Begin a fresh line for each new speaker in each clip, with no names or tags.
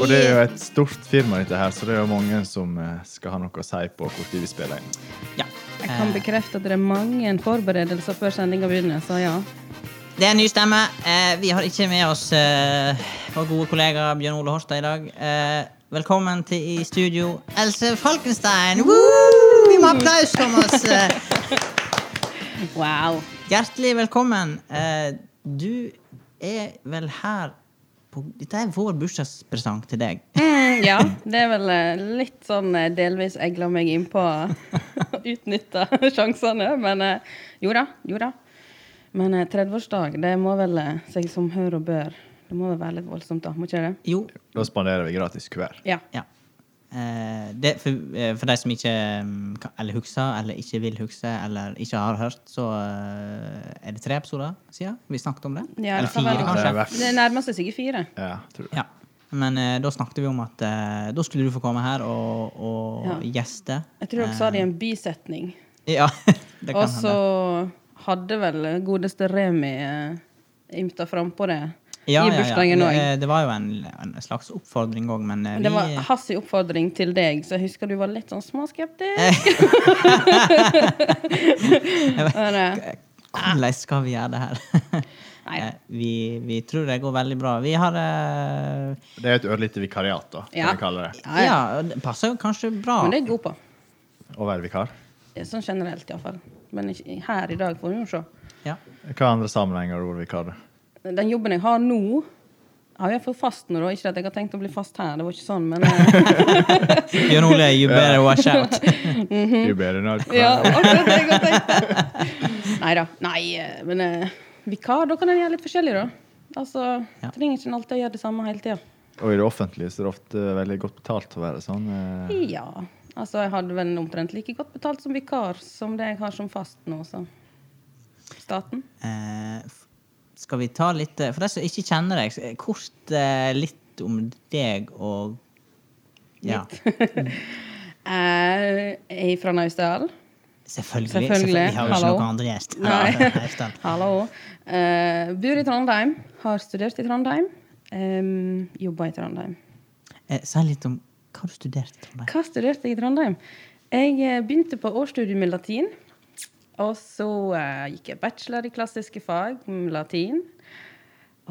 Og det er jo et stort firma, dette her, så det er jo mange som eh, skal ha noe å si på når vi spiller inn.
Ja.
Jeg kan
Eh,
bekrefte at det er mange forberedelser før sendinga begynner, så ja.
Det er en ny stemme. Eh, vi har ikke med oss eh, vår gode kollega Bjørn Ole Horstad i dag. Eh, velkommen til i studio, Else Falkenstein! Woo! Vi må ha applaus, Thomas! Eh,
Wow.
Hjertelig velkommen. Eh, du er vel her på Dette er vår bursdagspresang til deg.
Mm, ja, det er vel eh, litt sånn eh, delvis egla meg innpå og utnytta sjansene, men eh, jo da, jo da. Men eh, 30-årsdag, det må vel eh, seg som hør og bør. Det må vel være litt voldsomt, da, må ikke det?
Jo.
Da spanderer vi gratis hver.
Ja.
Ja. Eh, det, for, eh, for de som ikke mm, kan- eller husker, eller ikke vil huske, eller ikke har hørt, så eh, er det tre episoder siden vi snakket om det.
Ja,
eller
det kan
fire,
være.
Det er
kanskje.
verst.
Det nærmer seg sikkert fire.
Ja, tror jeg.
Ja. Men eh, da snakket vi om at eh, da skulle du få komme her og, og gjeste. Eh,
Jeg tror dere sa det i en bisetning.
Ja, Eh, det kan
Og så
hende.
hadde vel godeste Remi eh, ymta frampå det
Ja,
i
ja, ja.
bursdagen òg.
Det, det var jo en, en slags oppfordring òg, men eh,
Men
vi
Det var hans oppfordring til deg, så jeg husker du var litt sånn småskeptisk. Men, eh,
Hvordan skal vi gjøre det her?
Nei.
Eh, vi, vi tror det går veldig bra. Vi har eh,
Det er et ørlite vikariat, da, kan
Ja.
vi kalle det.
Ja, ja.
Ja, det passer jo kanskje bra.
Men det er jeg god på.
Å være vikar.
Sånn generelt, iallfall. Men ikke, her i dag får vi jo se.
Ja.
Hva andre sammenhenger har du vært vikar? da?
Den jobben jeg har nå har jeg fått fast nå, da. Ikke at jeg har tenkt å bli fast her, det var ikke sånn, men eh,
Bjørn Ole, you better watch out.
You better not cry.
Mhm. Ja, akkurat det jeg har tenkt. Nei da. Nei, eh, men eh, vikar, da kan en gjøre litt forskjellig, da. Altså,
Ja.
trenger ikke en alltid å gjøre det samme hele tida.
Og i det offentlige så er det ofte veldig godt betalt å være sånn. eh,
Ja. Altså, jeg hadde vel omtrent like godt betalt som vikar som det jeg har som fast nå, så Staten?
Eh, f- skal vi ta litt eh, For de som ikke kjenner deg, så, eh, kort eh, litt om deg og Ja.
Eh, Jeg er fra Naustdal.
Selvfølgelig.
Selvfølgelig.
Vi har jo ikke
Hallo.
noen andre gjest.
Nei.
Ja, Øystein.
Hallo. Eh, bor i Trondheim. Har studert i Trondheim. Um, Jobber i Trondheim.
Eh, Si litt om hva du studerte. Trondheim.
Hva studerte jeg i Trondheim? Jeg eh, begynte på årsstudium i latin. Og så eh, gikk jeg bachelor i klassiske fag, mm, latin.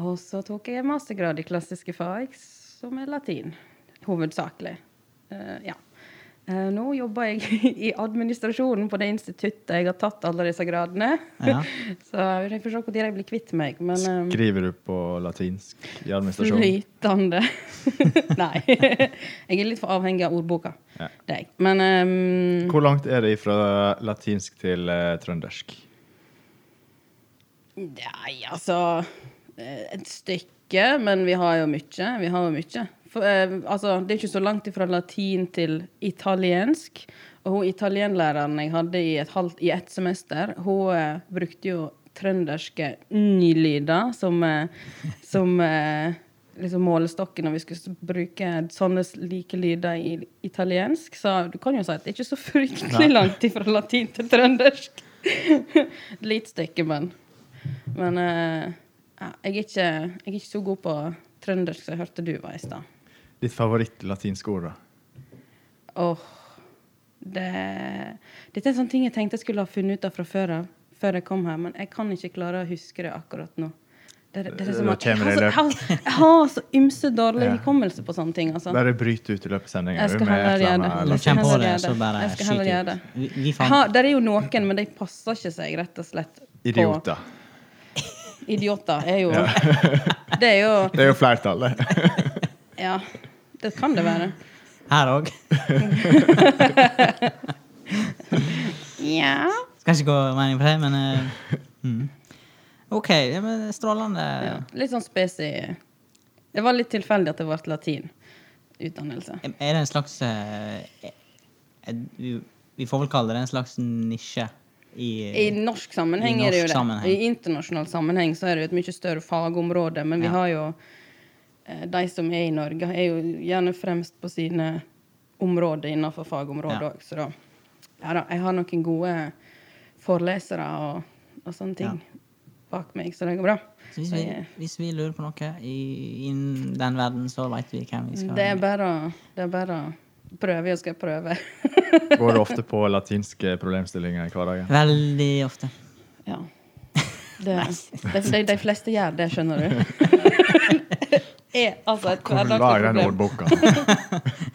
Og så tok jeg mastergrad i klassiske fag, som er latin. Hovedsakelig. Eh, ja. Eh, nå jobber jeg i administrasjonen på det instituttet jeg har tatt alle disse gradene.
Ja.
så jeg får se når jeg blir kvitt meg. Men, eh,
Skriver du på latinsk i administrasjonen?
Flytende. Nei. Jeg er litt for avhengig av ordboka.
Ja.
Det er jeg. Men ehm,
Hvor langt er det fra latinsk til eh, trøndersk?
Nei, altså eh, Et stykke, men vi har jo mye. Vi har jo mye. For, eh, altså, det er ikke så langt ifra latin til italiensk. Og hun italienlæreren jeg hadde i et, halvt, i ett semester, hun eh, brukte jo trønderske ny-lyder som, eh, som eh, liksom målestokken når vi skulle s- bruke sånne s- like lyder i italiensk. Så du kan jo si at det er ikke så fryktelig langt ifra latin til trøndersk. Litt stykke, men. Men eh, ja, jeg, er ikke, jeg er ikke så god på trøndersk som jeg hørte du var i stad.
Ditt favoritt-latinske ord, da?
Åh, det, dette er en sånn ting jeg tenkte jeg skulle ha funnet ut av fra før av, før jeg kom her, men jeg kan ikke klare å huske det akkurat nå. Det, det, er som
Da
at jeg,
kommer
har
det i
så, jeg, har, jeg har så ymse dårlig
Ja.
hukommelse på sånne ting. Altså.
Bare bryt ut i løpet av sendinga.
Jeg skal heller gjøre det.
Når du kommer på
heller
det,
gjøre
så
det.
bare
Jeg skal heller gjøre det.
ut. Vi, vi
Jeg
fant
har- Der er jo noen, men de passer ikke seg rett og slett. på-
Idioter.
Idioter er jo Det er jo
Det er jo flertallet.
Ja, det kan det være.
her òg.
Ja.
Skal ikke gå mer inn på det, men eh, mm. OK. Ja, men strålende.
Ja. Litt sånn spesi Det var litt tilfeldig at det ble latin utdannelse.
Er det en slags eh, er- vi- Vi får vel kalle det en slags nisje i, eh,
I norsk sammenheng
I
er det jo
norsk
det.
sammenheng.
I internasjonal sammenheng så er det jo et mye større fagområde, men
Ja.
vi har jo eh, De som er i Norge, er jo gjerne fremst på sine områder innenfor fagområdet
Ja.
òg, så da Ja da, jeg har noen gode forelesere og, og sånne ting bak meg, så det går bra.
Så hvis, vi,
Jeg-
hvis vi lurer på noe i- innen den verden, så veit vi hvem vi skal
Det er bare å- det er bare å prøve, jeg skal prøve.
Går du ofte på latinske problemstillinger i hverdagen?
Veldig ofte.
ja. Det, de, de, de fleste gjør det, skjønner du. er altså et
Hvor du
hverdagslig
lager den
problem.
ordboka?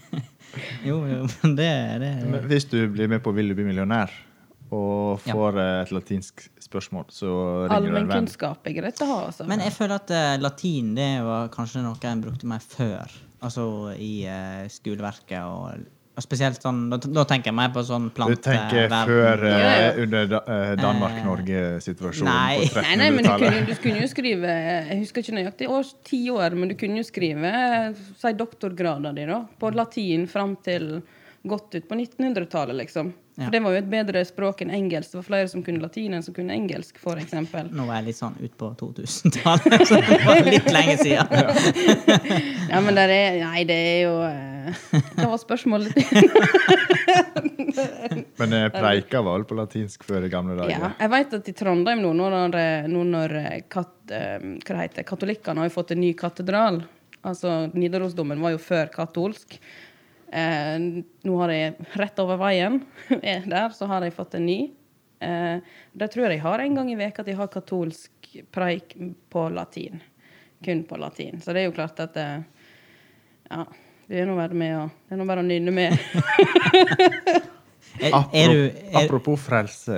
Jo, jo, men det, det
Men Hvis du blir med på Vil du bli millionær og får eh, et latinsk spørsmål, så ringer du en venn.
Allmennkunnskap er greit å ha, altså.
Men jeg føler at eh, latin det var kanskje noe en brukte mer før. Altså i eh, skoleverket og, og spesielt sånn da, da tenker jeg mer på sånn
Du
plante...
tenker
verden.
før eh,
Ja, ja.
under da- eh, Danmark-Norge-situasjonen
Nei.
på
nei, nei, men du kunne,
1300-tallet.
du kunne jo skrive Jeg husker ikke nøyaktig års ti år, men du kunne jo skrive si doktorgraden din da, på latin fram til godt ut på 1900-tallet, liksom.
Ja.
For det var jo et bedre språk enn engelsk. Det var flere som kunne latin enn som kunne engelsk, for eksempel.
Nå var jeg litt sånn ut på 2000-tallet, så det var litt lenge siden.
Ja, men der er Nei, det er jo eh, Hva var spørsmålet?
Men eh, preika var vel på latinsk før i gamle
Ja,
dager.
jeg vet at i Trondheim nå, nå når, nå når kat, eh, hva det heter, katolikkene har jo fått en ny katedral Altså, Nidarosdomen var jo før katolsk. Eh, nå har de rett over veien eh, der, så har de fått en ny. Eh, det tror jeg de har en gang i veka at de har katolsk preik på latin. Kun på latin. Så det er jo klart at eh, Ja, det er nå bare, med å- det er nå bare å nynne med.
Er, er
Apropos,
du, er,
apropos frelse.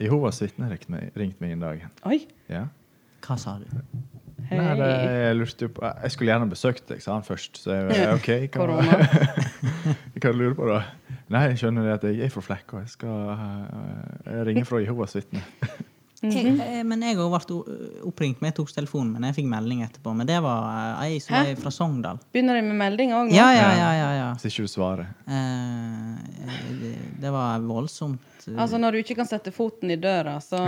Jehovas vitner ringte meg- ringte meg en dag.
Oi!
Ja.
hva sa du?
Hei.
Nei, det, jeg lurte jo på Jeg skulle gjerne besøkt deg, sa han først. Så jeg, eh, OK, hva
Korona.
hva du lurer på, da? Nei, jeg skjønner det at jeg er fra Flekka. Jeg skal eh, ringe fra Jehovas vitner.
Mhm.
Jeg, eh, men jeg òg ble o- oppringt, men jeg tok telefonen, men jeg fikk melding etterpå. Men det var eh, ei som
Hæ?
er fra Sogndal.
Begynner de med melding òg nå?
Ja, ja, ja, ja, ja.
Hvis ikke du svarer.
Eh, det, det var voldsomt. eh,
Altså, når du ikke kan sette foten i døra, så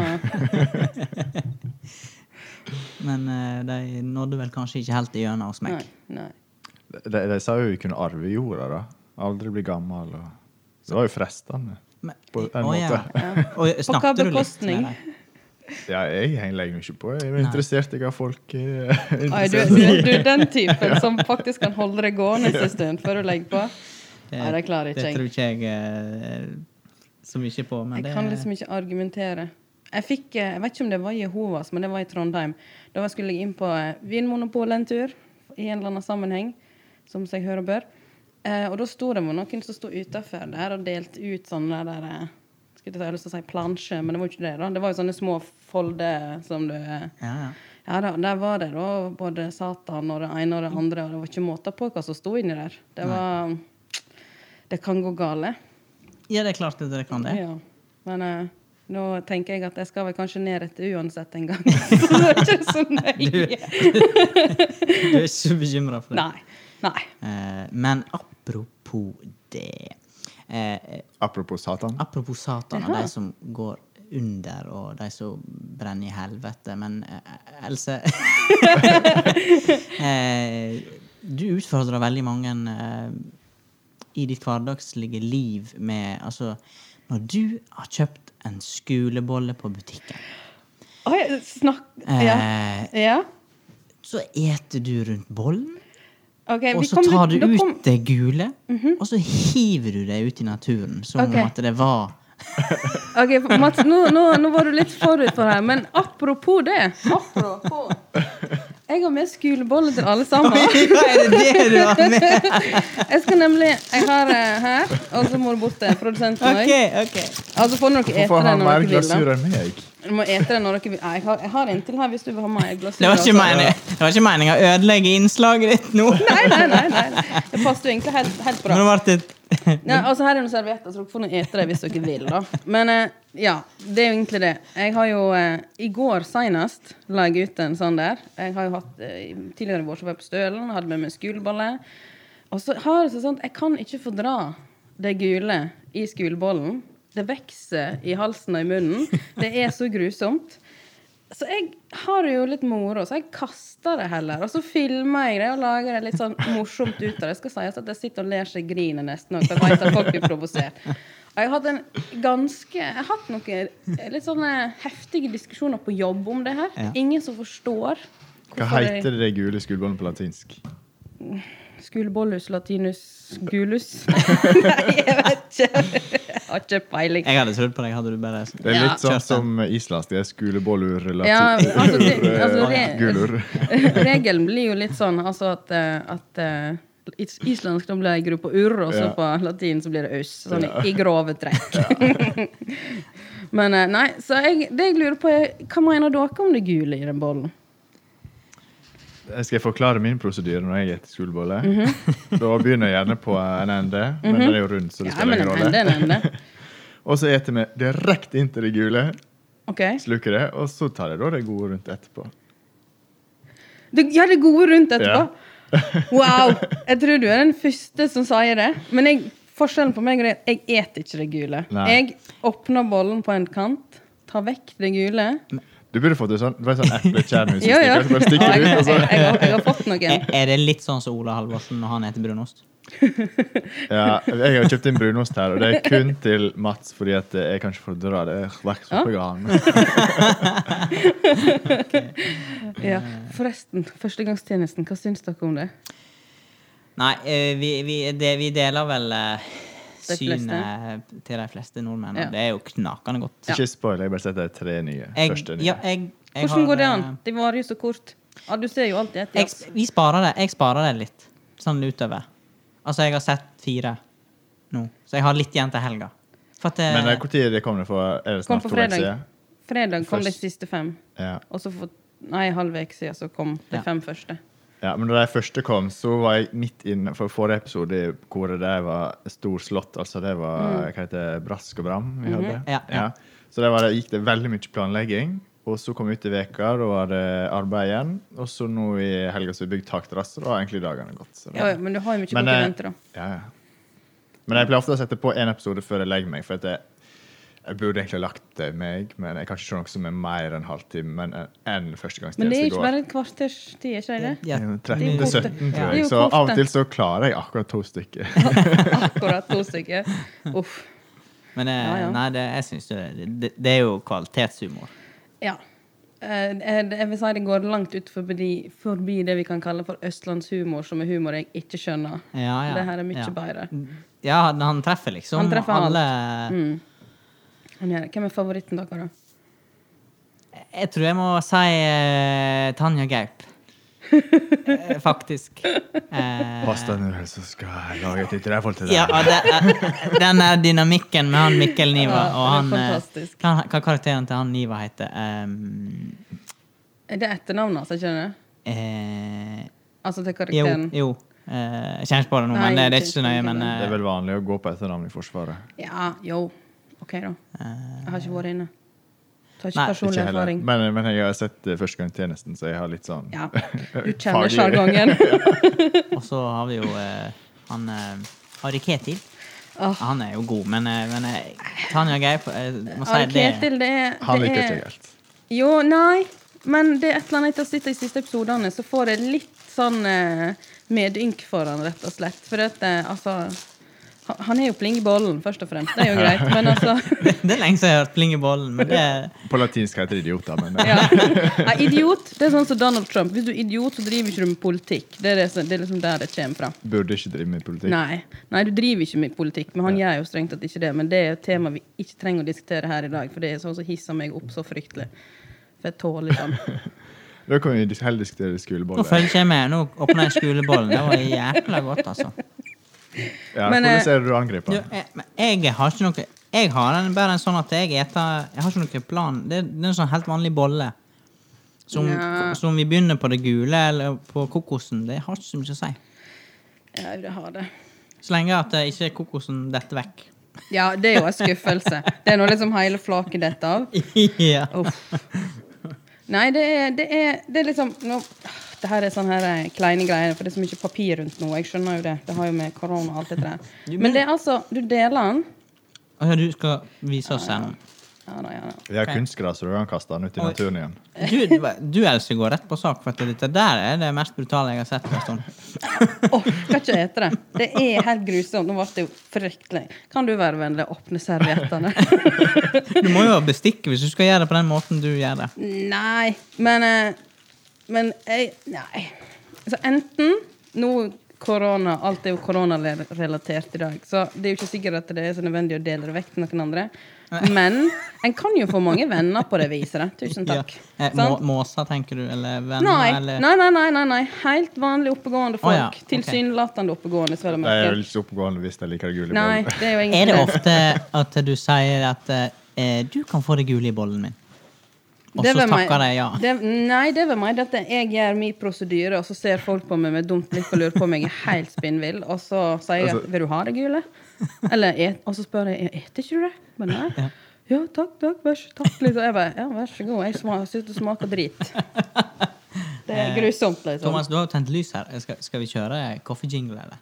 Men eh, de nådde vel kanskje ikke helt igjennom hos meg.
Nei. nei.
De, de sa jo vi kunne arve jorda, da. Aldri bli gammel. Og... Det var jo fristende.
Men-
På en
Å, ja.
måte.
Og
På hva
snakket du litt med
bekostning?
dem?
Ja, jeg henger legger meg ikke på. Jeg er interessert i hva folk eh, er
Ai, du,
interessert
du, du er den typen som faktisk kan holde det gående en stund før du legger på. Nei, det klarer ikke
Det
jeg.
tror ikke jeg eh, så mye på, men
Jeg
det
kan liksom ikke argumentere. Jeg fikk, eh, jeg vet ikke om det var Jehovas, men det var i Trondheim. Da var- skulle jeg inn på eh, Vinmonopolet en tur, i en eller annen sammenheng, som seg hør og bør. Eh, og da sto det var noen som sto utafor der og delte ut sånne der eh, skulle jeg ta- jeg har lyst til å si plansje, men det var jo ikke det. da. Det var jo sånne små folder som du eh,
Ja, ja.
Ja da, der var det da både Satan og det
Mm.
ene og det andre, og det var ikke måte på hva som sto inni der. Det var Det kan gå gale.
ja, det er klart at dere kan det.
Ja. Men eh, nå tenker jeg at jeg skal vel kanskje ned etter uansett en gang. så det er ikke så nøye.
Du er ikke bekymra for det.
Nei. Nei.
Eh, men apropos det eh,
i. Apropos Satan.
Apropos Satan og de som går under, og de som brenner i helvete. Men eh, Else eh, Du utfordrer veldig mange eh, i ditt hverdagslige liv med Altså, når du har kjøpt en skulebolle på butikken,
Oi, snakk Ja.
eh,
ja.
så eter du rundt bollen.
OK,
Og
Eh, vi
så
kom
tar du
litt- da
ut
kom- Mhm.
det gule, og så hiver du det ut i naturen som
Ok.
om at det var
OK, Mats, nå, nå, nå var du litt forut for her, men apropos det Apropos. Jeg har med skolebolle til alle sammen.
Hva er det det du har med?
Jeg skal nemlig Jeg har eh, her, og så må du bort til produsenten òg.
Ok, ok.
Altså får dere ete
Hvorfor har
det
han
når
mer
dere vil.
glasur
da.
enn meg?
Dere må ete det når dere vil. Nei, Jeg har, jeg har inntil her hvis du vil ha mer glasur.
Det var ikke
altså.
meningen, det var ikke meningen å ødelegge innslaget ditt nå.
Nei, nei, nei, nei, nei. Det passer jo egentlig helt, helt bra.
Men det ble et
Nei, altså Her er noen servietter, så dere får nå ete det hvis dere vil. da Men eh, ja, det er jo egentlig det. Jeg har jo eh, I går senest la jeg ut en sånn der. Jeg har jo hatt eh, Tidligere i vår så var jeg på Stølen, hadde med meg skolebolle. Og så har det seg sånn at jeg kan ikke fordra det gule i skolebollen. Det vokser i halsen og i munnen. Det er så grusomt. Så jeg har det jo litt moro, så jeg kaster det heller. Og så filmer jeg det og lager det litt sånn morsomt ut av det. Jeg skal sies at jeg sitter og ler seg griner nesten òg, for jeg vet at folk blir provosert. Og jeg har hatt en ganske Jeg har hatt noen eh, litt sånne heftige diskusjoner på jobb om det her.
Ja.
Ingen som forstår.
Hva heter det gule skuldbåndet på latinsk?
Skulbollus latinus gulus? Nei, jeg vet ikke. Jeg har ikke peiling.
Jeg hadde trodd på deg, hadde du bare
Det er
Ja.
litt sånn
Kjørte.
som islandsk. Det er skulebollur latin.
Ja, altså, det- altså, det-
Gulur.
Regelen blir jo litt sånn altså at, eh, at eh, is- islandsk da blir gruppa urr, og så
Ja.
på latin så blir det aus. Sånn i, i grove trekk. Men eh, nei, så jeg, det jeg lurer på, er hva mener dere om det gule i den bollen?
Skal jeg forklare min prosedyre når jeg spiser skulebolle? Da begynner jeg gjerne på en ende, men den er jo rund, så det
Mhm. Ja,
spiller
men
ingen
en
rolle.
ende, en ende.
Og så eter vi direkte inntil det gule,
Ok.
sluker det, og så tar jeg da det gode rundt etterpå.
Det, ja, det gode rundt etterpå.
Ja.
Wow! Jeg tror du er den første som sier det. Men jeg, forskjellen på meg og det er at jeg eter ikke det gule.
Nei.
Jeg åpner bollen på en kant, tar vekk det gule.
Du burde fått det sånn, det var sånn eplekjernis.
Ja, ja.
Bare stikker
Ja, jeg,
det ut, altså. og så
jeg, jeg, har- jeg har fått noen.
Er, er det litt sånn som Ola Halvorsen når han heter brunost?
Ja, jeg har kjøpt inn brunost her, og det er kun til Mats fordi at jeg kan ikke fordra det. Jeg er vekk som vegan.
Ja. Forresten, førstegangstjenesten, hva syns dere om det?
Nei, eh, vi, vi, det, vi deler vel eh,
De fleste.
synet til de fleste nordmenn. og
Ja.
Det er jo knakende godt.
Ikke spoil, jeg bare setter de tre nye. første
Jeg,
nye.
ja, eh, jeg, jeg
Hvordan
har,
går det an?
eh,
Det varer jo så kort. Ja, du ser jo alltid etter.
Jeg,
jafs.
vi sparer det. Jeg sparer det litt. Sånn utover. Altså, jeg har sett fire nå, så jeg har litt igjen til helga. For at, eh,
Men eh, hvor tid det kom det fra? Er det
Kom
snart
på
to uker
fredag.
siden?
Fredag kom de
Først.
siste fem.
Ja.
Og så for nei, halv uke siden så kom de
Ja.
fem første.
ja, men da de første kom, så var jeg midt inne for forrige episode i koret der jeg var storslått. Altså det var hva heter det, Brask og Bram vi hadde.
Mm. Mhm, Ja, ja.
Så der var det, gikk det veldig mye planlegging. Og så kom vi ut i veka, da var det arbeid igjen. Og så nå i helga så har vi bygd takterrasse, og da har egentlig dagene gått. Så det-
Ja, ja, men du har jo mye
Men, eh,
konkurrenter, da.
Ja, ja. Men jeg pleier ofte å sette på én episode før jeg legger meg. For at jeg, jeg burde egentlig ha lagt det meg, men jeg kan ikke se noe som er mer enn halvtime men en- enn
Men det er
førstegangstjeneste
jo
i
ikke
går.
bare et kvarters tid, ikke det?
ja,
Det er jo
Det er
13
jo
til 17,
kort, ja.
tror
Det er
jeg.
jo
Så
kort,
av og
det.
til så klarer jeg akkurat to stykker.
Akkurat to stykker. Uff.
Men eh,
Ja, ja.
nei, det, jeg syns jo det, det Det er jo kvalitetshumor.
Ja. Eh, eh, Jeg vil si det går langt ut forbi, forbi det vi kan kalle for østlandshumor, som er humor jeg ikke skjønner.
Ja, ja.
Det her er mye
ja. Mm.
bedre.
Ja, han, han treffer liksom
Han treffer alt. Mm.
alle
Men ja, Hvem er favoritten deres, da?
Jeg tror jeg må si eh, Tanja Gaup. Eh, Faktisk. Eh,
Pass deg nå, ellers så skal jeg lage et nytt rævhold til deg.
ja, og det, eh, den der dynamikken med han Mikkel Niva
Ja,
og han
det er
eh,
fantastisk.
hva, hva karakteren til han Niva heter Ehm,
Er det etternavnet hans, ikke det?
eh,
Altså til
Jo,
karakteren?
jo. Eh, jeg kjenner ikke på det nå,
Nei,
men det, det er
jeg
ikke så nøye.
kjenner ikke
Men,
på
Det er
eh,
vel vanlig å gå på etternavn i Forsvaret.
Ja, jo. OK, da. Jeg har ikke vært inne. Tar ikke
Nei,
personlig
Ikke heller.
erfaring.
Men, men jeg har sett eh, det førstegangstjenesten, så jeg har litt sånn
Ja. Du kjenner
Faglig.
sjargongen.
og så har vi jo eh, han eh, Ari Ketil.
Åh.
Han er jo god, men, eh, men eh, Tanja Geip eh, må si
Ari
det.
Ketil, det er
Han
det
liker
er-
ikke jeg helt.
Jo, nei, men det er et eller annet etter å sitte i siste episodene, så får jeg litt sånn eh, medynk for han, rett og slett. For at, eh, altså ha- Han er jo pling i bollen, først og fremst. Det er jo greit, men altså
Det, det er lenge siden jeg har hørt pling i bollen, men det
På latinsk heter det idioter, men eh,
ja. Nei, idiot. Det er sånn som Donald Trump. Hvis du er idiot, så driver ikke du med politikk. Det er, det, som- det er liksom der det kommer fra.
burde ikke drive med politikk.
Nei. Nei, du driver ikke med politikk, men han gjør jo strengt tatt ikke det. Men det er et tema vi ikke trenger å diskutere her i dag, for det er sånn som hisser meg opp så fryktelig. For jeg tåler sånn. ikke han.
Da kan vi dis- heller diskutere
Nå
skoleboller.
følger ikke jeg med. Nå åpner jeg skolebollen. Det var jækla godt, altså.
Ja,
Men,
hvordan
eh,
ser du angriper?
Du, jeg, men jeg har ikke noe Jeg har en, bare en sånn at jeg eter Jeg har ikke noen plan. Det, det er en sånn helt vanlig bolle. Som,
Nja.
som vi begynner på det gule eller på kokosen. Det har ikke så mye å si.
Ja, det har det.
Så lenge at eh, ikke kokosen detter vekk.
Ja, det er jo en skuffelse. Det er nå liksom hele flaket dette av.
ja.
Uff. Nei, det er, det er, det er liksom nå, Det her er sånne her eh, kleine greier, for det er så mye papir rundt nå. Jeg skjønner jo det. Det har jo med korona og alt dette der. Men det er altså Du deler den,
Å ja, du skal vise oss scenen.
Ja, da, ja, da.
Vi er
Ok.
kunstgras, så du kan kaste den ut i
Oi.
naturen igjen.
Du, du Else, går rett på sak, for at dette der er det mest brutale jeg har sett. på en stund.
Orker ikke å ete det. Det er helt grusomt. Nå ble det jo fryktelig. Kan du være vennlig å åpne serviettene?
Du må jo ha bestikk hvis du skal gjøre det på den måten du gjør det.
nei. Men eh, Men jeg Nei. Så enten Nå korona Alt er jo koronarelatert i dag, så det er jo ikke sikkert at det er så nødvendig å dele det vekk til noen andre. Men en kan jo få mange venner på det viset. da. Tusen takk.
Ja. Eh,
Sant?
må, måser, tenker du? Eller venner?
Nei,
eller?
nei, nei, nei, nei, nei. Helt vanlig oppegående folk.
Å ja, ok.
Tilsynelatende oppegående. så vel å
Det er
merke.
jo litt oppegående hvis jeg liker det gule.
Nei,
bollet.
det er jo egentlig
Er det ofte at du sier at eh, 'du kan få det gule i bollen min', og
Det
så
er vel meg-
takker de ja?
Det, nei, det er vel meg. Dette, jeg gjør min prosedyre, og så ser folk på meg med dumt blikk og lurer på om jeg er helt spinnvill. Og så sier jeg at
Altså-
'vil du ha det gule?' Eller, et, og så spør jeg 'eter ikke du det?' Men nei. Ja, takk, takk, vær så, takk liksom. Jeg bare, ja, vær så god. Jeg sma- syns det smaker drit. Det er grusomt,
Eh,
liksom.
Thomas, du har jo tent lys her. Skal, skal vi kjøre koffejingle, eller?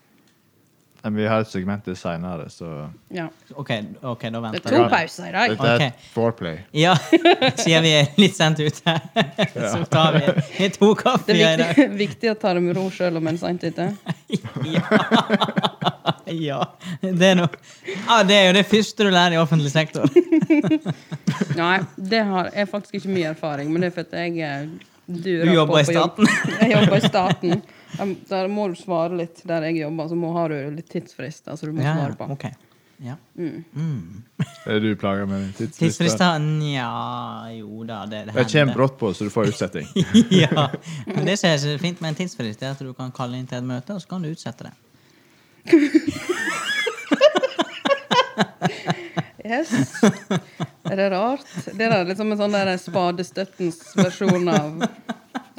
Men vi har et segment til senere, så
Ja.
OK, ok, da
Det er
venter
to
vi.
pauser i dag.
Dette er
Ok.
et foreplay.
Ja, siden vi er litt sent ute, så tar vi to
Det
kaffe i
er
dag.
viktig, viktig å ta det med ro sjøl om en seint ute.
Ja. ja. Det er, noe. Ah, det er jo det første du lærer i offentlig sektor.
Nei, det har jeg faktisk ikke mye erfaring, men det er for at jeg eh, durer
Du jobber
på
i
på jobb. Jeg jobber i staten. Um, Der må du svare litt der jeg jobber, så må, har du litt tidsfrist. Altså du må
Ja,
svare på.
ok. Ja.
Er du plaga med din tidsfrist?
Tidsfrister? Nja, jo da, det,
Jeg
det
kommer
hender.
brått på, så du får utsetting.
ja. Men det som er så fint med en tidsfrist, er at du kan kalle inn til et møte, og så kan du utsette det.
Yes. Er det rart? Det er liksom en sånn der spadestøttens versjon av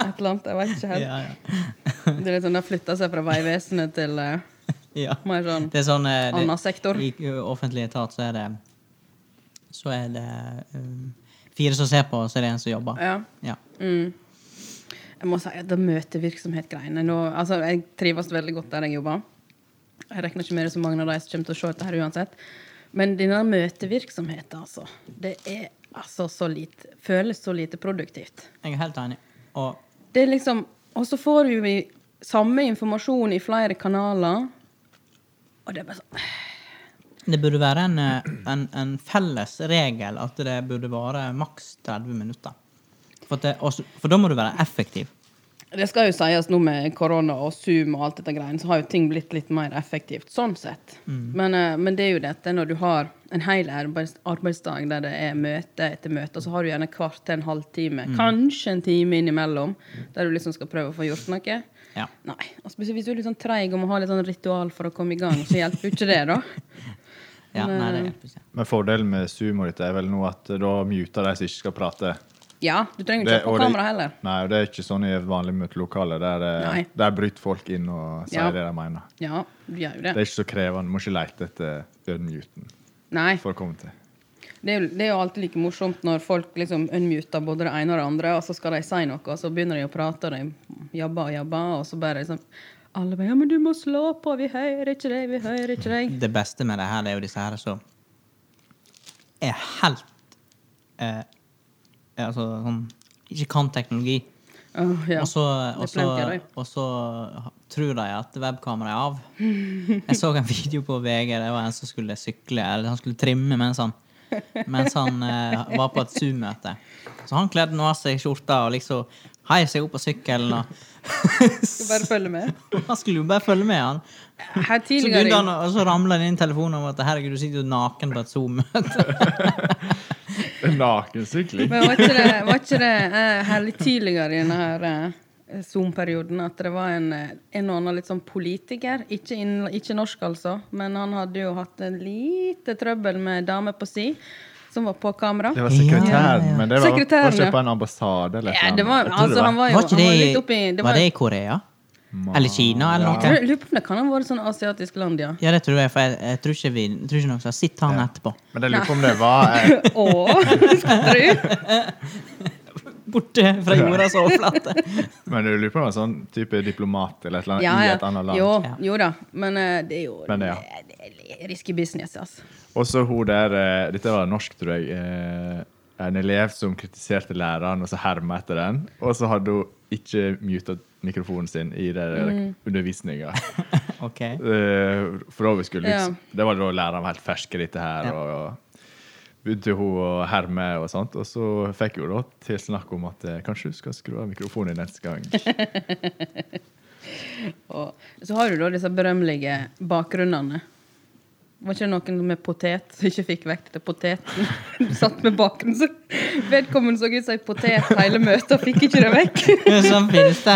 et eller annet. Jeg vet ikke helt.
Ja, ja.
Det er litt sånn, Det har flytta seg fra Vegvesenet til eh,
ja.
mer sånn
Det er sånn eh, det,
annen sektor.
I ø, offentlig etat så er det Så er det um, fire som ser på, og så er det en som jobber.
Ja.
Ja.
Jeg må si at det møtevirksomhet-greiene nå, altså, Jeg trives veldig godt der jeg jobber. Jeg regner ikke med det er så mange av de som kommer til å se dette her uansett. Men denne møtevirksomheten, altså. Det er altså så lite Føles så lite produktivt.
Jeg er helt enig. Og
Det er liksom Og så får vi jo samme informasjon i flere kanaler. Og det er bare sånn
det burde være en, ø, en, en felles regel at det burde vare maks 30 minutter. For, at det, også, for da må du være effektiv.
Det skal jo sies nå med korona og Zoom og alt dette greiene, så har jo ting blitt litt mer effektivt sånn sett.
Mm.
Men, eh, men det er jo dette når du har en hel arbeids arbeidsdag der det er møte etter møte, og så har du gjerne kvart til en halvtime,
Mm.
kanskje en time innimellom, der du liksom skal prøve å få gjort noe.
Ja.
Nei. Og spesielt hvis du er litt sånn treig og må ha litt sånn ritual for å komme i gang, så hjelper jo ikke det, da.
ja nei, det hjelper ikke.
Men fordelen med Sumo ditt er vel nå at eh, da muter de som ikke skal prate.
Ja, du trenger
Det-
ikke ha
og
på
det-
kamera heller.
Nei, og det er ikke sånn i vanlige møtelokaler. Der, eh,
Nei.
der bryter folk inn og sier
Ja.
det de mener.
Ja, du gjør jo
Det
det.
er ikke så krevende. Du må ikke lete etter unmuten
Nei.
for å komme til.
Det er, jo, det er jo alltid like morsomt når folk liksom unmuter både det ene og det andre, og så skal de si noe, og så begynner de å prate, og de jabber og jabber, og så bare liksom alle bare, ja, men du må slå på, vi hører ikke deg, vi hører ikke deg.
Det beste med det her, det er jo disse her som er helt eh, Altså sånn Ikke kan teknologi.
Åh, ja.
Og så, og,
Det er plenty
så,
av det.
og så tror de at webkameraet er av. Jeg så en video på VG. Det var en som skulle sykle, eller han skulle trimme mens han, mens han eh, var på et Zoom-møte. Så han kledde nå av seg skjorta og liksom heiv seg opp på sykkelen.
Skal
Og
bare følge med.
han skulle jo bare følge med, han.
Her
Så
tidligere,
begynte han, å- og så ramla det inn telefonen om at herregud, du sitter jo naken på et Zoom-møte.
Nakensykling?
men var ikke det, var ikke det eh, her litt tidligere i denne her eh, Zoom-perioden at det var en, eh, en og annen litt sånn politiker, ikke, inn, ikke norsk altså, men han hadde jo hatt en lite trøbbel med dame på si, som var på kamera.
Det var sekretæren.
Ja, ja, ja.
Men det var,
Sekretæren,
var
ja.
ikke på en ambassade eller et
Ja,
eller
det var,
annet. Jeg tror
altså, han var jo
Var ikke
han var
det,
litt oppi det
var
var,
det i Korea? Eller Kina, eller
Jeg
noe?
lurer på om det kan ha vært sånn asiatisk land, ja.
Ja, det tror jeg, for jeg, jeg tror ikke, vi, tror ikke noen som har sett han etterpå.
Men jeg lurer på om det var eh,
Å, skal du tro?
borte fra jordas overflate.
Men du lurer på om det er sånn type diplomat eller et eller annet
Ja,
i et annet land.
Jo,
Ja.
jo da, men eh, det er jo
Men det, ja.
det, er risky business, altså.
Og så hun der eh, Dette var norsk, tror jeg. eh, En elev som kritiserte læreren, og så herma etter den. Og så hadde hun ikke muta mikrofonen sin i mm. undervisninga.
Ok.
Eh, for da vi skulle
Ja.
liksom, Det var da læreren var helt fersk i dette her.
Ja.
og begynte hun å herme og sånt, og så fikk hun da til snakk om at eh, kanskje du skal skru av mikrofonen neste gang.
Og så har du da disse berømmelige bakgrunnene. Var ikke det noen med potet som ikke fikk vekk dette poteten? Du satt med bakgrunnen, så vedkommende så ut som en potet hele møtet og fikk ikke det vekk.
Sånn finnes det.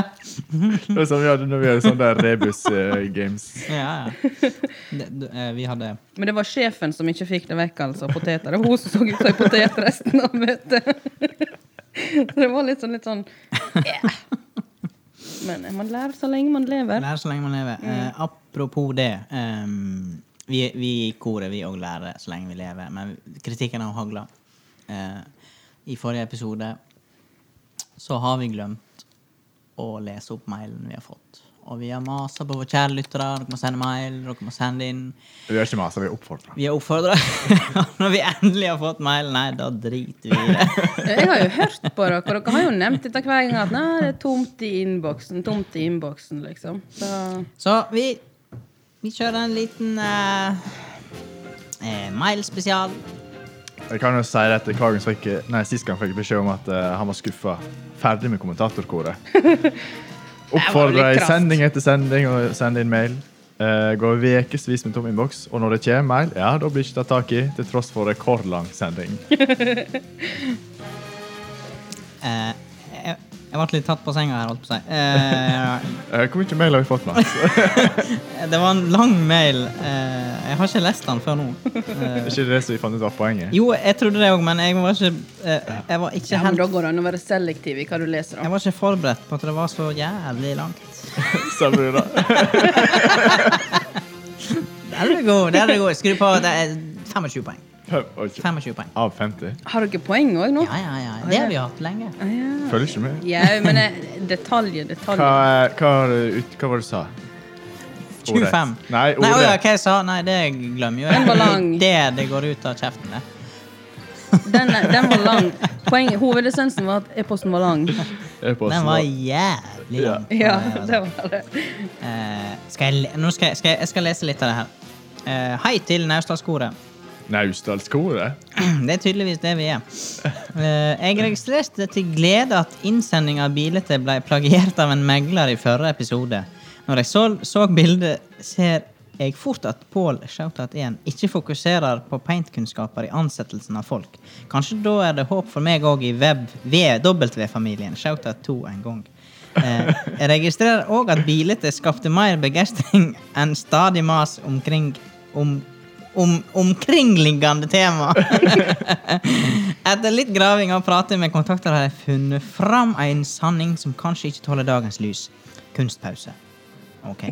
Det er som vi hadde når vi hadde sånn der rebus eh, games.
Ja, ja. Det, det, eh, vi hadde
Men det var sjefen som ikke fikk det vekk, altså. Poteter. Det var hun som så ut som en potet resten av møtet. Det var litt sånn litt sånn eh. Men eh, man lærer så lenge man lever.
Lære så lenge man lever. Eh, apropos det. ehm, vi, vi i koret vi òg lærer så lenge vi lever, men kritikken har hagla. Eh, I forrige episode så har vi glemt å lese opp mailen vi har fått. Og vi har masa på våre kjære lyttere. Dere må sende mail, dere må sende inn.
Vi har ikke masa, vi er oppfordra.
Vi er oppfordra. Når vi endelig har fått mail, nei, da driter vi i det.
Jeg har jo hørt på dere, og dere har jo nevnt dette hver gang at nei, det er tomt i innboksen. Tomt i innboksen, liksom. Så
Så vi, vi kjører en liten eh, eh, mailspesial.
Jeg kan jo si det at Kagen fikk, nei, Sist gang fikk jeg beskjed om at eh, han var skuffa. Ferdig med kommentatorkoret. Oppfordra
litt
i
kraft.
sending etter sending og send inn mail. Eh, går ukevis med tom innboks, og når det kommer mail, ja, da blir ikke tatt tak i. Til tross for rekordlang sending.
Eh, jeg, jeg ble litt tatt på senga her, holdt på å si. Eh,
Eh, hvor mye mail har vi fått, Eh, Mats?
det var en lang mail. Eh, jeg har ikke lest den før nå.
Er
Eh,
ikke det som vi fant ut var poenget?
jo, jeg trodde det òg, men jeg var ikke, eh, jeg var ikke
ja, men
helt
da går det an å være selektiv i hva du leser.
jeg
om.
var ikke forberedt på at det var så jævlig langt.
Sa du det?
Der er du god. der er du god. Skru på. Det er 25 poeng.
Fem- ok.
25 poeng.
Av 50?
Har dere poeng òg nå?
Ja, ja, ja. Det har vi hatt lenge.
Ah, ja.
Følger ikke med.
ja, men eh, detaljer,
Hva,
detaljer.
er- hva, er det ut, hva var det du sa? Ordet.
25.
Nei,
Nei, åja,
ordet.
hva jeg sa? Nei, det glemmer jo jeg.
Den var lang.
Det, det går ut av kjeften, det.
Den, er- den var lang. Poenget, hovedessensen var at e-posten var lang.
E-posten
Den var jævlig
Ja.
lang.
Ja, det var det.
Eh, skal jeg, le- nå skal jeg, skal jeg, jeg skal lese litt av det her. Eh, hei til Naustdalskoret.
Naustdalskoret?
Det er tydeligvis det vi er. Eh, jeg registrerte til glede at innsending av bilete ble plagiert av en megler i forrige episode. Når jeg så, så bildet, ser jeg fort at Pål Shoutout 1 ikke fokuserer på paintkunnskaper i ansettelsen av folk. Kanskje da er det håp for meg òg i web- VW-familien. Shoutout 2 en gang. Eh, jeg registrerer òg at bilete skapte mer begeistring enn stadig mas omkring om om omkringliggende tema. Etter litt graving og prating med kontakter har jeg funnet fram en sanning som kanskje ikke tåler dagens lys. Kunstpause. Ok.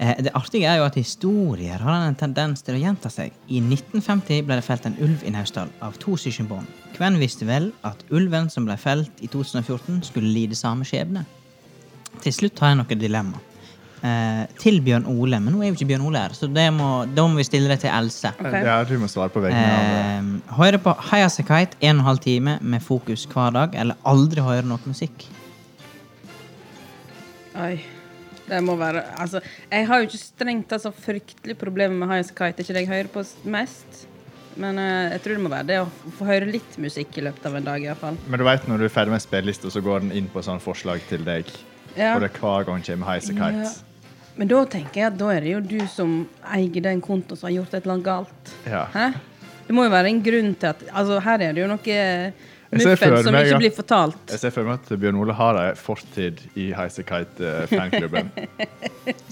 Eh, Det artige er jo at historier har en tendens til å gjenta seg. I 1950 ble det felt en ulv i Naustdal av to søskenbarn. Hvem visste vel at ulven som ble felt i 2014, skulle lide samme skjebne? Til slutt har jeg noen dilemma. Eh, til Bjørn Ole, men nå er jo ikke Bjørn Ole her, så det må, da må vi stille det til Else.
Ok.
Ja, du må svare på vegne av eh,
Eh, høre på Hayasekite en og en halv time med fokus hver dag, eller aldri høre noe musikk.
Oi. Det må være Altså, jeg har jo ikke strengt tatt så fryktelig problemer med Highas Kite. Det er ikke det jeg hører på s- mest. Men eh, jeg tror det må være det å f- få høre litt musikk i løpet av en dag, iallfall.
Men du vet når du er ferdig med spillelista, så går den inn på sånn forslag til deg.
Ja.
Og det er hver gang kommer Highasakite.
Ja. Men da tenker jeg at da er det jo du som eier den kontoen som har gjort et eller annet galt.
Ja.
Hæ? Det må jo være en grunn til at Altså, her er det jo noe eh,
ser for
muffens som
meg,
ikke
ja.
blir fortalt.
Jeg ser for meg at Bjørn Ole har ei fortid i eh, Highasakite-fanklubben.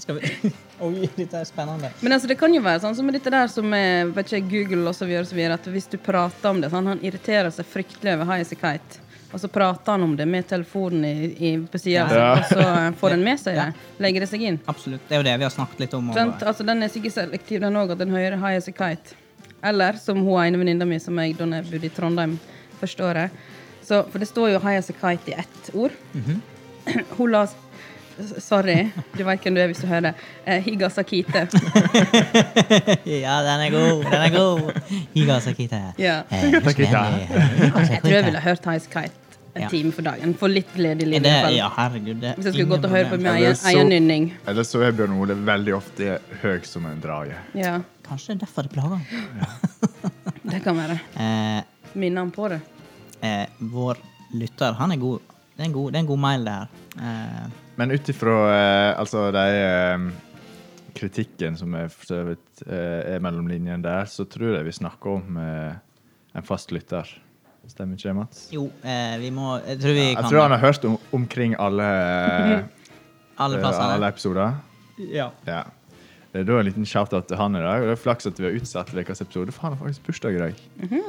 Skal vi... Oi, dette er spennende.
Men altså, det kan jo være sånn som med dette der som er, vet ikke, Google og så videre, og så videre, at hvis du prater om det sånn, Han irriterer seg fryktelig over High as a Kite, og så prater han om det med telefonen i, i, på sida,
Ja.
og så eh, får han med seg det.
Ja.
Legger det seg inn.
Absolutt. Det er jo det vi har snakket litt om. og-
Sant? Altså, den er sikkert selektiv, den òg, at den hører High as a Kite. Eller som hun ene venninna mi som jeg da jeg bodde i Trondheim første året, Så, for det står jo 'high as a kite' i ett ord.
Mhm.
Hun la s- Sorry, du veit hvem du er hvis du hører. Eh, Higa Sakite.
ja, den er god. Den er god. Higa Sakita. Eh,
Ja.
Sakita.
Jeg tror jeg ville hørt 'high as a kite' en
Ja.
time for dagen. Få litt glede i livet. i hvert
det,
fall.
ja, herregud. Det er
Hvis jeg skulle
ingen
gått og hørt på
problem.
min
Ja, det er
egen
så-
egen nynning.
Ellers så er Bjørn Ole veldig ofte høy som en drage.
Ja,
Kanskje det er derfor det plager ham.
det kan være.
Eh,
Minner han på det?
eh, vår lytter, han er god. Det er en god, det er en god mail, det her. Eh,
Men ut ifra eh, altså de eh, kritikken som er for så vidt eh, er mellom linjene der, så tror jeg vi snakker om eh, en fast lytter. Stemmer ikke det, Mats?
jo, eh, vi må Jeg tror vi
Jeg
kan
tror han har hørt om, omkring alle, eh,
alle plassene.
alle episoder.
Ja.
Ja. Det er da en liten shout-out til han i dag. Og det er flaks at vi har utsatt ukas episode, for han har faktisk bursdag i dag.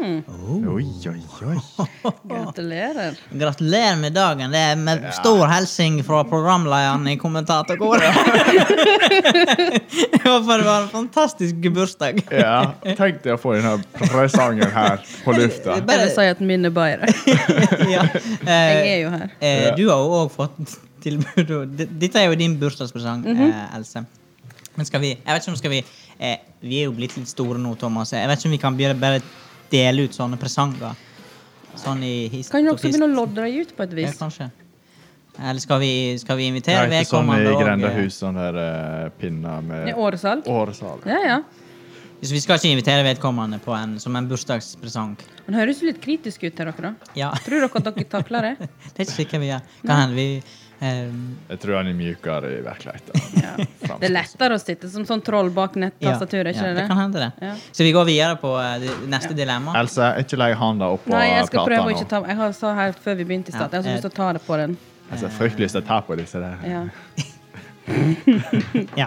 Oi, oi, oi.
Gratulerer.
Gratulerer med dagen. Det er med stor hilsen fra programlederen i kommentatorkoret. Jeg håper det var en fantastisk bursdag.
Ja, tenk deg å få denne presangen her på lufta.
Bare si at min er Bayer.
ja.
Jeg
eh,
er jo her.
eh,
Ja.
du har jo òg fått tilbud. og d- Dette er jo din bursdagspresang,
Mhm.
eh, Else. Men skal vi Jeg vet ikke om skal vi eh, Vi er jo blitt litt store nå, Thomas. Jeg vet ikke om vi kan begynne bare dele ut sånne presanger. Sånn i hist
Kan dere også
hist-
begynne å lodde dem ut på et
Ja,
vis?
kanskje. Eller skal vi, skal vi
Det
invitere
er ikke sånn i
vedkommende og, eh,
grendehus, sånn der eh, pinna
I
med
åresalg?
åresal.
Ja, ja.
Så vi skal ikke invitere vedkommende på en, som en bursdagspresang.
Han høres jo litt kritisk ut til dere, da.
Ja,
Tror dere at dere takler det?
det er ikke sikkert vi gjør. Kan hende vi eh,
Jeg tror han er mjukere i virkeligheten.
Ja. Det er lettere å sitte som sånn troll bak
ja,
nettastaturet,
ja,
ikke
det kan
det?
hende, det.
Ja.
Så vi går videre på eh, det neste dilemma.
Else, ikke legg handa opp på
Nei, jeg skal
plata
prøve å
nå.
ikke ta Jeg har- sa her før vi begynte i stad, jeg har så lyst til å ta det på den.
Altså, jeg har fryktelig lyst til å ta på disse der.
Ja.
Ja.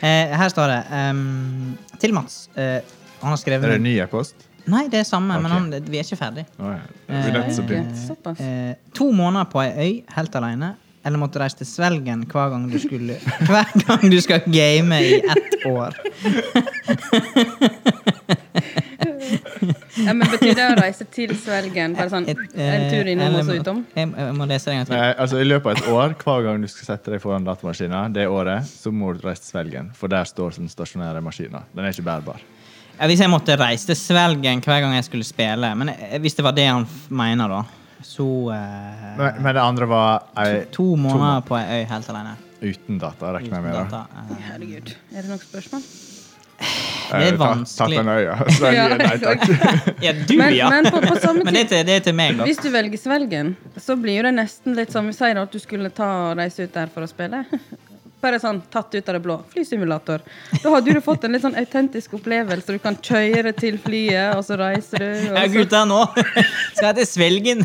Eh, her står det ehm, Til Mats. Eh, han har skrevet
Er det en ny e-post?
Nei, det er samme, men
Ok.
han, vi er ikke ferdig.
Å ja. Det blir nødt til å bli-
Ok, Såpass.
Eh, to måneder på ei øy helt alene, eller måtte reise til Svelgen hver gang du skulle Hver gang du skal game i ett år.
Ja, men betyr det å reise til Svelgen? Bare sånn
Et,
en tur
eh,
innom og så
eller-
utom?
Jeg, må- jeg må lese det en gang til.
Nei, altså I løpet av et år, hver gang du skal sette deg foran datamaskina, det året, så må du reise til Svelgen, for der står den stasjonære maskina. Den er ikke bærbar.
Ja, hvis jeg måtte reise til Svelgen hver gang jeg skulle spille Men eh, hvis det var det han f- mener, da, så eh,
Men, men det andre var ei,
To måneder på ei øy helt alene.
uten data, regner jeg
Uten
med. da.
data. eh.
Herregud. Er det noe spørsmål?
Det er
Eh, ta- Tatt en
vanskelig.
øya. Så jeg,
Ja.
nei takk.
Ja, du,
Men,
ja!
men på, på samme
Men det er
tid
til, det er til meg, da.
Hvis du velger Svelgen, så blir jo det nesten litt som vi sier da, at du skulle ta og reise ut der for å spille. Bare sånn tatt ut av det blå. Flysimulator. Da hadde du fått en litt sånn autentisk opplevelse. Du kan kjøre til flyet, og så reiser du.
Ja,
Og så.
gutta, nå skal jeg til Svelgen.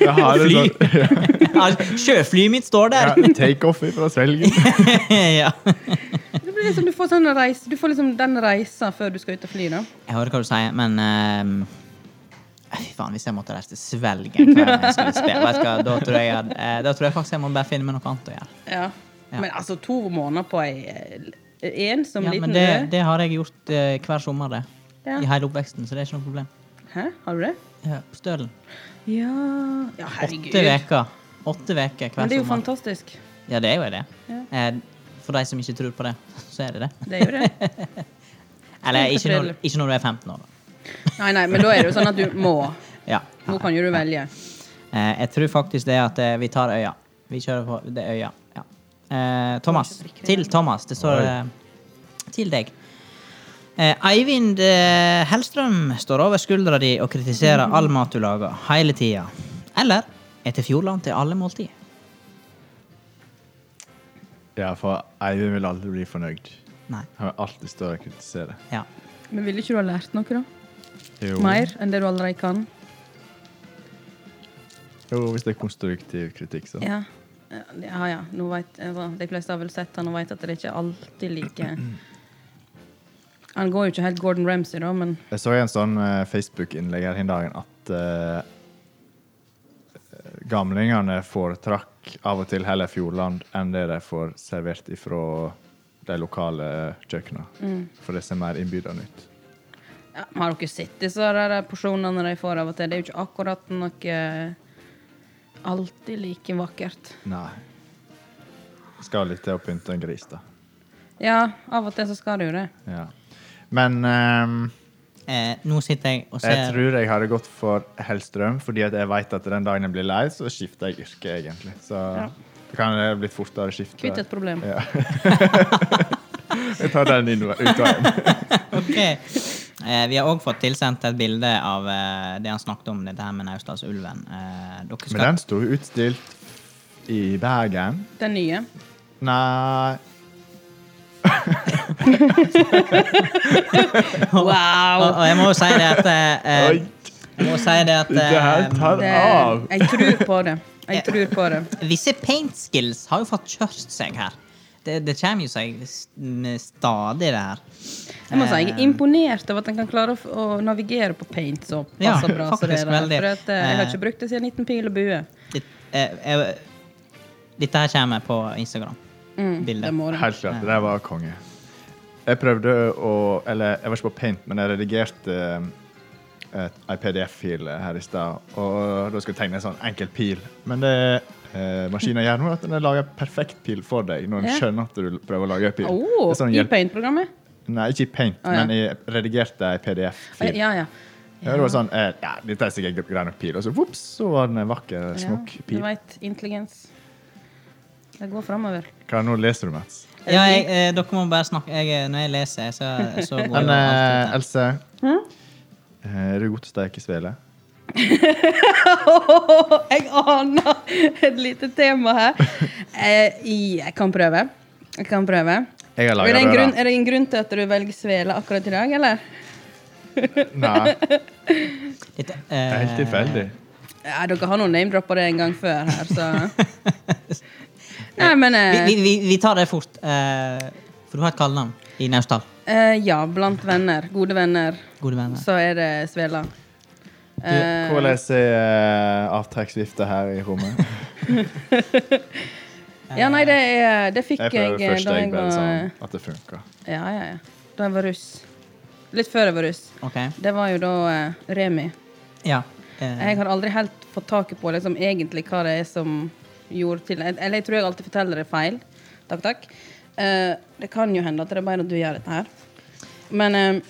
Jeg har det
Fly.
sånn.
Ja, Sjøflyet mitt står
Ja,
der.
take off fra Svelgen.
Ja.
Det blir liksom, du får sånn reise, du får liksom den reisa før du skal ut og fly, da.
Jeg hører hva du sier, men ehm, Fy faen, hvis jeg måtte reise til Svelgen hver gang jeg skulle spille, vet du hva, da tror jeg, jeg hadde- eh, da tror jeg faktisk jeg må bare finne meg noe annet å gjøre.
Ja. Men altså, to måneder på ei eh, ensom
Ja, men
liten
det,
ø.
det har jeg gjort eh, hver sommer, det.
Ja.
I hele oppveksten, så det er ikke noe problem.
Hæ, har du det?
Ja, på Stølen.
Ja Ja, herregud.
Åtte uker. altså. Åtte uker hver
Men det er jo
sommer.
fantastisk.
Ja, det er jo det.
Ja.
Eh, For de som ikke tror på det, så er det det.
Det er jo det.
Eller
Helt
ikke når,
forferdelig.
ikke når du er 15 år, da.
Nei, nei, men da er det jo sånn at du må.
Ja.
Nå kan jo du velge.
Eh, Jeg tror faktisk det at eh, vi tar øya. Vi kjører på det øya. Ja. Eh, Thomas. Til Thomas. Det står eh, til deg. Eh, Eivind eh, Hellstrøm står over skuldra di og kritiserer all mat du lager, hele tida. Eller etter Fjordland til alle måltid.
Ja, for Eivind vil aldri bli fornøyd.
Nei.
Han vil alltid stå og kritisere.
Ja.
Men ville ikke du ha lært noe, da?
Jo.
Mer enn det du allerede kan?
jo, hvis det er konstruktiv kritikk, så.
Ja. Ja, ja. Nå vet, altså, de fleste har vel sett han og vet at det ikke alltid like Han går jo ikke helt Gordon Ramsay, da, men
Jeg så en sånn eh, Facebook-innlegg her den dagen at eh, gamlingene foretrakk av og til heller Fjordland enn det de får servert ifra de lokale kjøkkenene.
Mm.
For det ser mer innbydende ut.
ja, har dere sett disse der porsjonene de får av og til? Det er jo ikke akkurat noe alltid like vakkert.
Nei. Skal litt til å pynte en gris, da.
Ja, av og til så skal det jo det.
Ja. Men ehm,
Eh, nå sitter jeg og
jeg
ser
tror jeg hadde gått for Hellstrøm, fordi at jeg vet at den dagen jeg blir lei, så skifter jeg yrke, egentlig. Så det kan det bli et fortere skifte.
Kvitt et problem.
Ja. jeg tar den innover- utveien.
Ok. Eh, vi har òg fått tilsendt et bilde av eh, det han snakket om, dette her med Naustdalsulven. Eh, dere
Men
skal
den sto jo utstilt i Bergen.
Den nye.
Nei
og, og jeg må jo si det at eh,
Oi,
Jeg må si det at
det her
eh,
tar
Det,
av!
jeg tror på det. Jeg tror på det.
Visse paint skills har jo fått kjørt seg her. Det, det kommer jo seg s- med stadig, det her.
Jeg må si, jeg er
Eh.
imponert over at en kan klare å, f- å navigere på paint så
Ja,
passe bra. som det
faktisk
der.
veldig.
For at, eh, jeg har
Eh.
ikke brukt det siden 19 pil og bue.
Det, eh, jeg- dette her kommer på Instagram.
Mm,
Bildet.
det må det.
Helt klart. Det der var konge. Jeg prøvde å Eller jeg var ikke på paint, men jeg redigerte eh, et- ei PDF-fil her i stad. Og da skulle jeg tegne en sånn enkel pil. Men det eh, maskinen gjør nå, er at den lager perfekt pil for deg når den
Ja.
skjønner at du prøver å lage en pil.
Åh,
Det er sånn
I
hjelp-
paint-programmet?
Nei, ikke i paint,
Å, ja.
men jeg redigerte ei PDF-fil.
Eh, Ja, ja.
Ja, det var sånn eh, Ja, dette er sikkert grei nok pil. Og så vops, så var den en vakker, smukk
Ja,
pil.
du vet, intelligens. Det går framover.
Hva nå leser du, Mats?
Ja, jeg, eh, dere må bare snakke. Jeg, eh, når jeg leser, så, så går
Men
jo alt
eh,
ut her.
Else,
Hm?
eh, er du god til å steke svele?
jeg aner et lite tema her. Eh, i- jeg kan prøve. Jeg kan prøve.
Jeg har
Er
laga
det, en grunn,
røra.
er det en grunn til at du velger svele akkurat i dag, eller?
Nei, det
Dette,
er helt
eh,
tilfeldig.
Ja, dere har noen name-dropper det en gang før her, så Nei, men eh,
vi, vi, vi, vi tar det fort. eh, for du har et kallenavn i Naustdal.
eh, Ja, blant venner, gode venner,
Gode venner.
så er det svela.
Du,
Eh,
Hvordan er uh, avtrekksvifta her i rommet?
Ja, nei, det, er, det fikk
Jeg
jeg,
prøver
eh,
først,
da
jeg,
jeg
bare
var
sånn at det funker.
Ja, ja, ja. Da jeg var russ. Litt før jeg var russ.
Ok.
Det var jo da eh, Remi.
Ja. eh,
Jeg har aldri helt fått taket på liksom, egentlig hva det er som gjorde til Eller jeg tror jeg alltid forteller det feil. Takk, takk. Eh, det kan jo hende at det er bare at du gjør dette her. Men eh,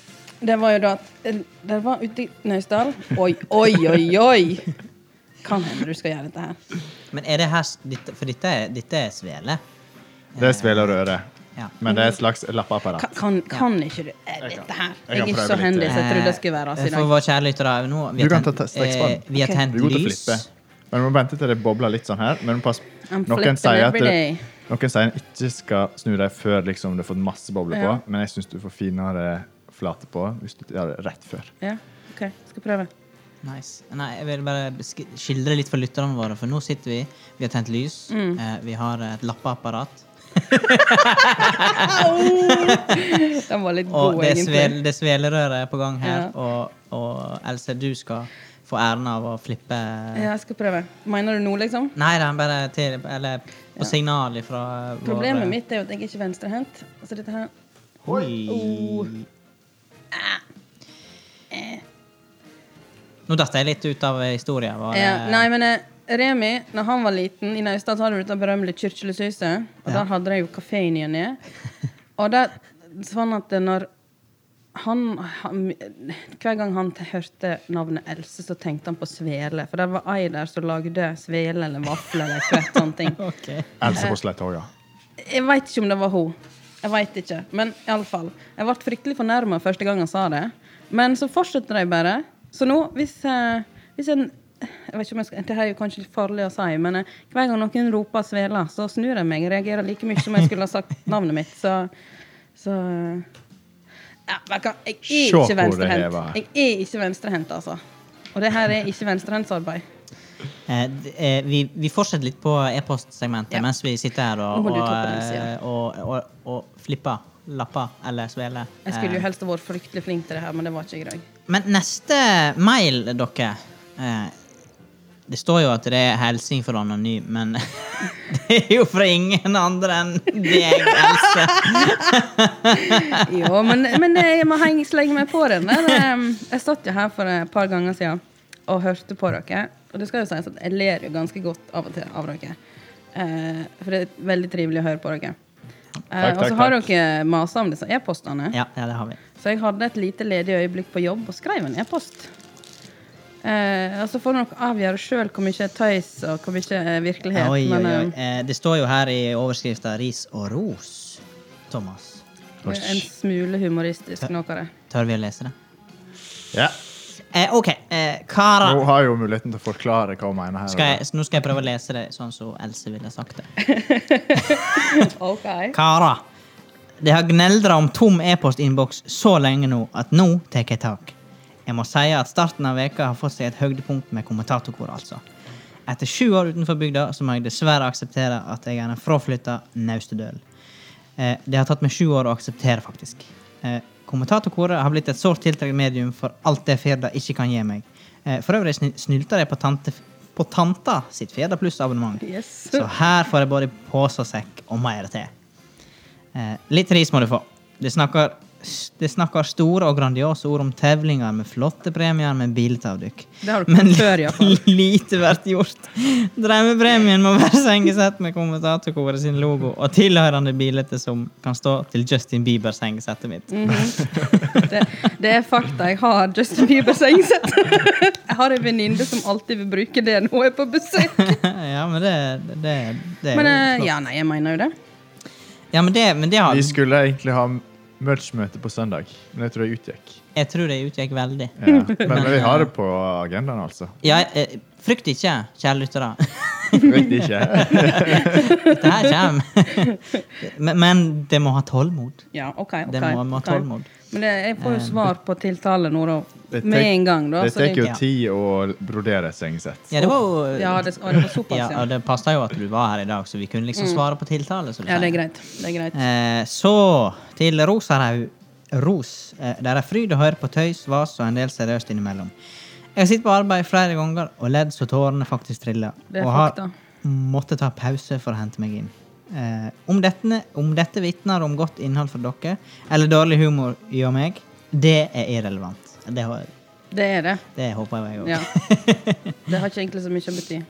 det var jo da at eh, Det var ute i Naustdal. Oi, oi, oi, oi! Kan hende du skal gjøre dette her.
men er det her s- dette, For dette er, dette er svele.
Det er svele og røre.
Ja.
Men det er et slags
Kan,
lappeapparat.
kan, kan ikke du eh, dette
Jeg
her?
kan
Jeg er
prøve
så
litt,
handy
ja.
som jeg trodde jeg skulle være.
Eh, For
Altså,
våre kjære lyttere nå vi
Du
har
kan ta
tent-
te- strekkespann.
eh, Vi har
Ok.
tent
Du er god til å
lys.
flippe. Men du må vente til det bobler litt sånn her. Men pass,
I'm
noen
flipping
sier at
every day.
det, noen sier en ikke skal snu deg før liksom, du har fått masse bobler på,
Ja.
men jeg syns du får finere flate på hvis du gjør det rett før.
ja, OK, skal prøve.
Nice. Nei, jeg vil bare besk- skildre litt for lytterne våre, for nå sitter vi, vi har tent lys,
Mm.
eh, vi har et lappeapparat,
Den var litt
og
god,
det er,
egentlig.
svel, det er svelerøret på gang her,
Ja.
og, og Else, du skal få æren av å flippe eh,
Ja, jeg skal prøve. Mener du nå, liksom?
Nei da, bare til Eller på signal ifra våre-
Problemet mitt er jo at jeg er ikke venstrehendt. Altså dette her
Oi.
Oh.
Nå datt jeg litt ut av historien. Var det,
ja, Nei, men eh, Remi, når han var liten i Naustdal, så hadde du dette berømmelige Kirkelyshuset. Og
Ja.
der hadde jeg jo kafé i ny og ne. Og der sånn at når han, han Hver gang han t- hørte navnet Else, så tenkte han på svele. For der var ei der som lagde svele eller vafler eller et eller annet sånne ting.
Ok.
Else på Slettåga.
Jeg veit ikke om det var hun. Jeg vet ikke. Men iallfall. Jeg ble fryktelig fornærma første gang han sa det. Men så fortsetter de bare. Så nå, hvis, eh, hvis en jeg vet ikke om jeg skal, Det her er jo kanskje litt farlig å si, men eh, hver gang noen roper 'Svela', så snur jeg meg og reagerer like mye som jeg skulle ha sagt navnet mitt. Så, så eh, ja, men hva- Jeg
Se
er
hvor
ikke
det
venstrehendt.
hever.
Jeg er ikke venstrehendt, altså. Og det her er ikke venstrehendtsarbeid.
Eh, d- eh, vi, vi fortsetter litt på e-postsegmentet
Ja.
mens vi sitter her og,
Nå må
og,
du ta på den siden.
eh, og, og, og flipper lapper eller sveler.
Jeg skulle jo
Eh,
helst ha vært fryktelig flink til det her, men det var ikke greit.
Men neste mail, dere eh, Det står jo at det er hilsing fra anonym, men det er jo fra ingen andre enn deg, Else.
Jo, men, men jeg må henge, slenge meg på den. der. Ehm, Jeg satt jo her for et par ganger siden og hørte på dere. Og det skal jo sies at jeg ler jo ganske godt av og til av dere. Eh, for det er veldig trivelig å høre på dere. Eh,
Takk,
og så
takk,
har
takk.
dere masa om disse e-postene.
Ja, ja, det har vi.
Så jeg hadde et lite ledig øyeblikk på jobb og skrev en e-post. Eh, og så får dere avgjøre sjøl hvor mye tøys og hvor mye eh, virkelighet.
Oi, oi,
men,
oi.
eh,
Eh, Det står jo her i overskrifta 'ris og ros'. Thomas,
det er en smule humoristisk noe av det.
tør vi å lese det?
Ja.
Eh, OK. Eh, karer
Nå har jeg jo muligheten til å forklare hva hun mener her.
skal jeg, nå skal jeg prøve å lese det sånn som Else ville sagt det.
Ok.
Kara. Det har gneldra om tom e-postinnboks så lenge nå at nå tek jeg tak. Jeg må si at starten av veka har fått seg et høydepunkt med kommentatorkor, altså. Etter sju år utenfor bygda så må jeg dessverre akseptere at jeg er en fraflytta naustedøl. Eh, Det har tatt meg sju år å akseptere, faktisk. Eh, Kommentatorkoret har blitt et sårt tiltrukket medium for alt det Firda ikke kan gi meg. Eh, For øvrig sny- snylter jeg på, tante, på tanta sitt Firda pluss-abonnement.
Yes.
Så her får jeg både pose og sekk og mer til. Eh, litt ris må du få. Det snakker, det snakker store og grandiose ord om tevlinger med flotte premier med biltavdukk.
Det har du ikke før, iallfall.
lite blir gjort. Drømmepremien må være sengesett med kommentatorkoret sin logo og tilhørende bilder som kan stå til Justin Bieber-sengesettet mitt.
Mm. Det, det er fakta. Jeg har Justin Bieber sengesett. Jeg har en venninne som alltid vil bruke det når hun er på besøk.
ja, men det, det, det er
Men eh,
jo flott.
ja, nei, jeg mener jo det.
Ja, men det, men det har
Vi skulle egentlig ha merch-møte på søndag, men jeg tror jeg utgikk.
Jeg tror det utgikk veldig.
Ja. Men, men vi har det på agendaen, altså.
Ja, eh, frykt ikke, kjære lyttere.
Vet ikke.
Dette her kommer. men, men det må ha tålmod.
Ja, ok, ok.
Det må, må ha
ok.
tålmod. Eh,
Men det, jeg får jo svar på tiltale nå, da.
Det
Med
tek-
en gang, da.
Det
så
tar jo
Ja.
tid å brodere et sengesett.
Ja, det var jo
ja, det, å, det var såpass,
ja,
ja.
og det passa jo at du var her i dag, så vi kunne liksom svare på tiltale. som du
Mm. Ja, det er
sier.
greit. Det er greit.
Eh, så til Rosarhaug. Ros. Eh, der er fryd å høre på tøys, vas og en del seriøst innimellom. Jeg sitter på arbeid flere ganger og ledd så tårene faktisk triller.
Det er
og har
fakta.
måttet ta pause for å hente meg inn. Eh, om, dette, om dette vitner om godt innhold fra dere, eller dårlig humor i og meg, det er irrelevant. Det, har-
Det er det.
det håper jeg òg.
Ja. Det har ikke egentlig så mye å bety.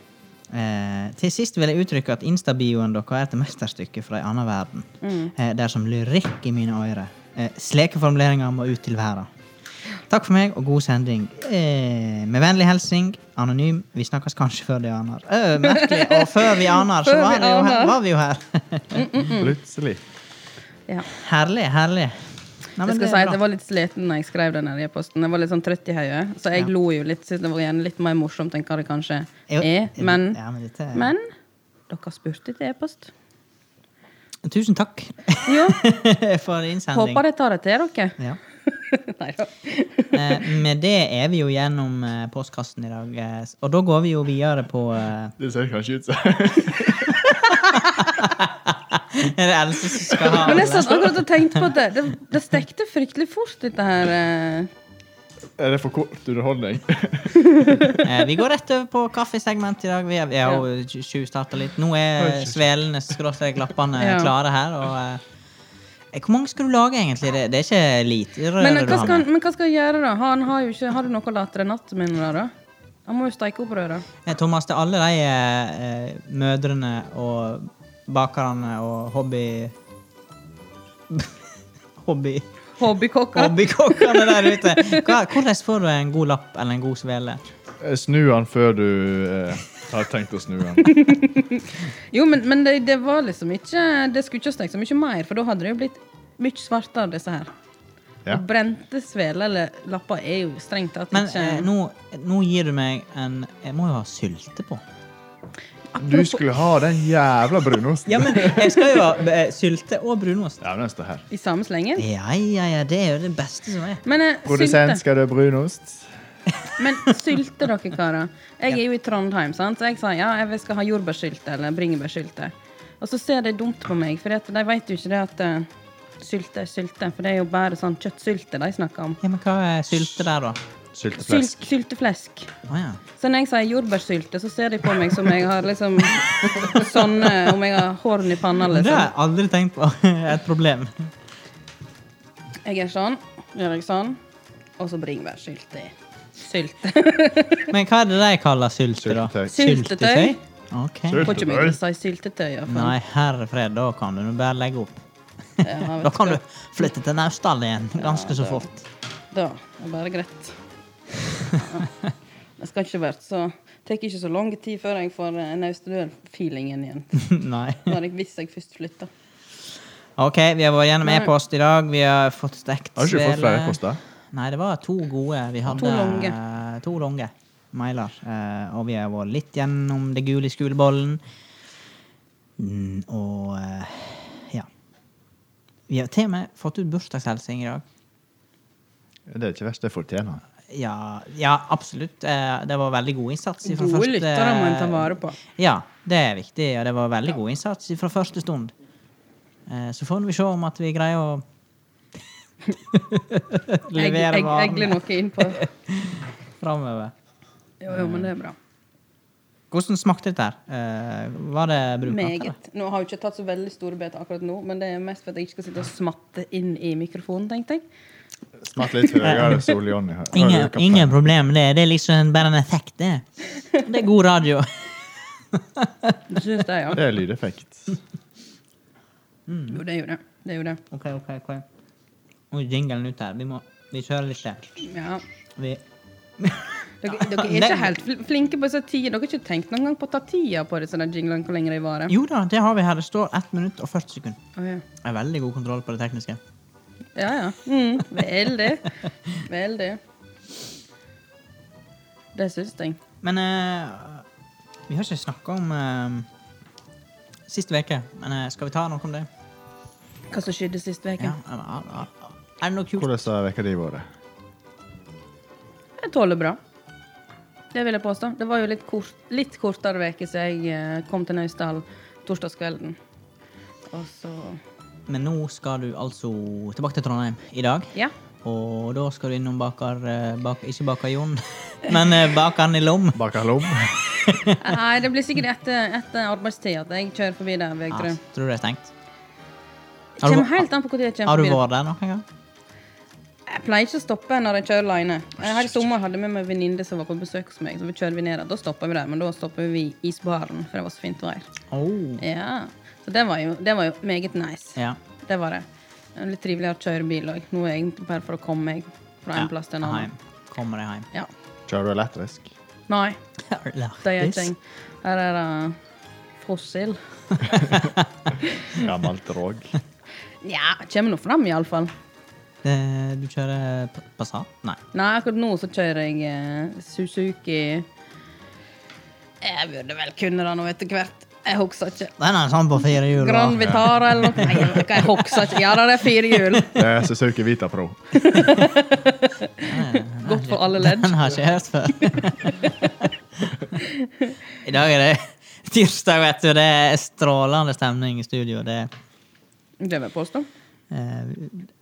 Eh, til sist vil jeg uttrykke at instabioen dere er et mesterstykke fra en annen verden.
Mm.
Eh, det er som lyrikk i mine ører. Eh, slike formuleringer må ut til verden. Takk for meg, og god sending. Eh, med vennlig hilsen anonym. Vi snakkes kanskje før de aner. Øh, merkelig. Og før vi aner, så
Før vi
var, det jo her,
aner.
var vi jo her.
Mm,
Plutselig.
Ja.
herlig, herlig. Nei, men
Jeg skal
det
si
er
at
bra.
jeg var litt sliten når jeg skrev den her e-posten. Jeg var litt sånn trøtt i hodet, så jeg lo jo litt. Synes det var gjerne litt mer morsomt enn hva det kanskje
Jo,
er. E, Men,
ja, men, dette, er-
men dere spurte til e-post.
Tusen takk
Jo,
for innsending.
håper jeg tar det til dere.
Ja.
Nei da.
Eh, med det er vi jo gjennom eh, postkassen i dag. Eh, og da går vi jo videre på eh,
Det ser kanskje ut som
Er det Else som skal ha
Men jeg
det?
satt akkurat og tenkte på at det, det, det stekte fryktelig fort, dette her. eh.
Er det for kort underholdning?
Eh, vi går rett over på kaffesegment i dag. Vi er- vi har jo tj- tjuvstarta litt. Nå er svelene skråstrek lappene
Ja.
klare her. Og, eh, eh, hvor mange skal du lage, egentlig? Det, det er ikke lite røre
Men, eh,
du
hva
har
skal,
med.
han- men hva skal jeg gjøre, da? Han har, jo ikke, har du noe latere natt med nå, da? Han må jo steike opp røra.
Eh, Thomas, til alle de eh, eh, mødrene og bakerne og hobby... hobby...
Hobbykokker.
Hobbykokkene der ute. Hva, hvordan får du en god lapp eller en god svele?
Snu han før du eh, har tenkt å snu han.
Jo, men, men det, det var liksom ikke Det skulle ikke stekt så mye mer, for da hadde det jo blitt mye svartere, disse her.
Ja.
Og brente sveler eller lapper er jo strengt tatt
Men
ikke
eh, nå, nå gir du meg en Jeg må jo ha sylte på.
Du skulle ha den jævla brunosten.
Ja, men jeg skal jo ha eh, sylte og brunost.
Ja, men den står her.
I samme slengen.
Ja, ja, ja, det er jo det beste som er.
Men eh,
Produsent,
sylte,
skal du ha brunost?
men sylte dere, karer. Jeg er jo i Trondheim, sant? så jeg sa ja, jeg skal ha jordbærsylte eller bringebærsylte. Og så ser de dumt på meg, for de vet jo ikke det at eh, sylte er sylte. For det er jo bare sånn kjøttsylte de snakker om.
Ja, men hva er sylte der, da?
Sylteflesk.
Sylt, sylteflesk.
Å ja.
Så når jeg sier jordbærsylte, så ser de på meg som jeg har liksom sånne Om jeg har horn i panna,
Men det har
liksom.
jeg aldri tenkt på. Et problem.
Jeg er sånn, gjør jeg sånn, og så bringebærsylte. Sylte.
Men hva er det de kaller sylte, da?
Syltetøy.
Syltetøy?
OK.
Sylt-
Får ikke meg til å si syltetøy. ja, faen.
Nei, herre fred, da kan du nå bare legge opp.
Ja, vet
Da kan
hva.
du flytte til Naustdal igjen ganske så fort.
Da er det bare greit. Ja. Det skal ikke være så Det tar ikke så lang tid før jeg får eh, naustdøl-feelingen igjen.
Nei.
Når jeg, hvis jeg først flytter.
OK, vi har vært gjennom
Nei.
e-post i dag. Vi har fått stekt
Har du ikke fått
svele.
flere poster?
Nei, det var to gode. Vi hadde
To lange.
eh, to lange mailer. eh, og vi har vært litt gjennom det gule i skolebollen. Mm, og eh, ja. Vi har til og med fått ut bursdagshilsing i dag.
Det er ikke verst, det fortjener han.
Ja, ja absolutt. Eh, det var veldig god innsats. ifra
Gode
første-
lyttere må en ta vare på.
Ja, det er viktig, og det var veldig god innsats fra første stund. Eh, Så får vi se om at vi greier å
Jeg,
levere
jeg, egler
varene
noe innpå.
framover.
Jo, jo, men det er bra.
Hvordan smakte dette? her? Eh, Var det brukbart? eller?
Meget. Nå har jeg ikke tatt så veldig store beter akkurat nå, men det er mest for at jeg ikke skal sitte og smatte inn i mikrofonen, tenkte jeg.
Smak litt høyere, Sol-Johnny. Hører du,
Ingen,
kaptein?
ingen problem med det. Det er liksom bare en effekt, det. Det er god radio.
Det syns jeg, ja.
Det er lydeffekt.
Mm.
Jo, det er jo det. Det er jo det.
OK, OK, OK. Oi, jinglen ut her. Vi må vi kjører litt til.
Ja.
Vi Ah,
Dere, dere er ikke helt fl- flinke på disse tider. Dere har ikke tenkt noen gang på å ta tida på disse der jinglene, hvor lenge de varer?
Jo da, det har vi her. Det står 1 minutt og 40 sekunder.
Å, ja.
Jeg har veldig god kontroll på det tekniske.
Ja, ja. Mm, veldig. Veldig. Det syns jeg.
Men eh, vi har ikke snakka om eh, Sist uke. Men eh, skal vi ta noe om det?
Hva som skjedde sist uke?
Ja. Er, er, er, er det noe kult?
Hvordan har vekka di vært?
Jeg tåler bra. Det vil jeg påstå. Det var jo litt, kort, litt kortere uke siden jeg eh, kom til Naustdal torsdagskvelden. Og så
Men nå skal du altså tilbake til Trondheim i dag.
Ja.
Og da skal du innom baker, eh, bak, Ikke baker Jon, men eh, bakeren i Lom.
Baka lom?
Nei, det blir sikkert etter, etter arbeidstid at jeg kjører forbi der. Jeg
Ja,
tror.
tror du det er stengt?
Det
Har du,
kommer
har
helt an på når jeg kommer
du
forbi. der.
vært der noen gang?
Jeg pleier ikke å stoppe når jeg kjører alene. Jeg her I sommer hadde jeg med meg en venninne som var på besøk hos meg. Så vi kjører vi ned der. Da stopper vi der, men da stopper vi i isbaren, for det var så fint vær.
Oh.
Ja. Så det var jo, det var jo meget nice.
Ja.
Det var det. Det er Litt triveligere å kjøre bil òg. Nå er jeg egentlig bare for å komme meg fra en
Ja,
plass til en annen.
heim. Kommer deg hjem.
Ja.
Kjører du elektrisk?
Nei, det gjør ikke
This.
jeg. Her er det fossil.
Gammelt råg.
Ja, kommer nå fram, iallfall.
Eh, Du kjører P- Passat? Nei.
Nei, akkurat nå så kjører jeg eh, Suzuki Jeg burde vel kunne det nå etter hvert. Jeg husker ikke.
Den er sånn på fire hjul. da.
Grand Vitara eller noe. Nei, jeg vet ikke, jeg husker ikke. Ja, da, det er fire hjul.
Det er Suzuki Vita Pro.
Godt for alle ledd.
Den har jeg ikke hørt før. I dag er det tirsdag, vet du. Det er strålende stemning i studio. Det,
Det vil jeg påstå.
eh,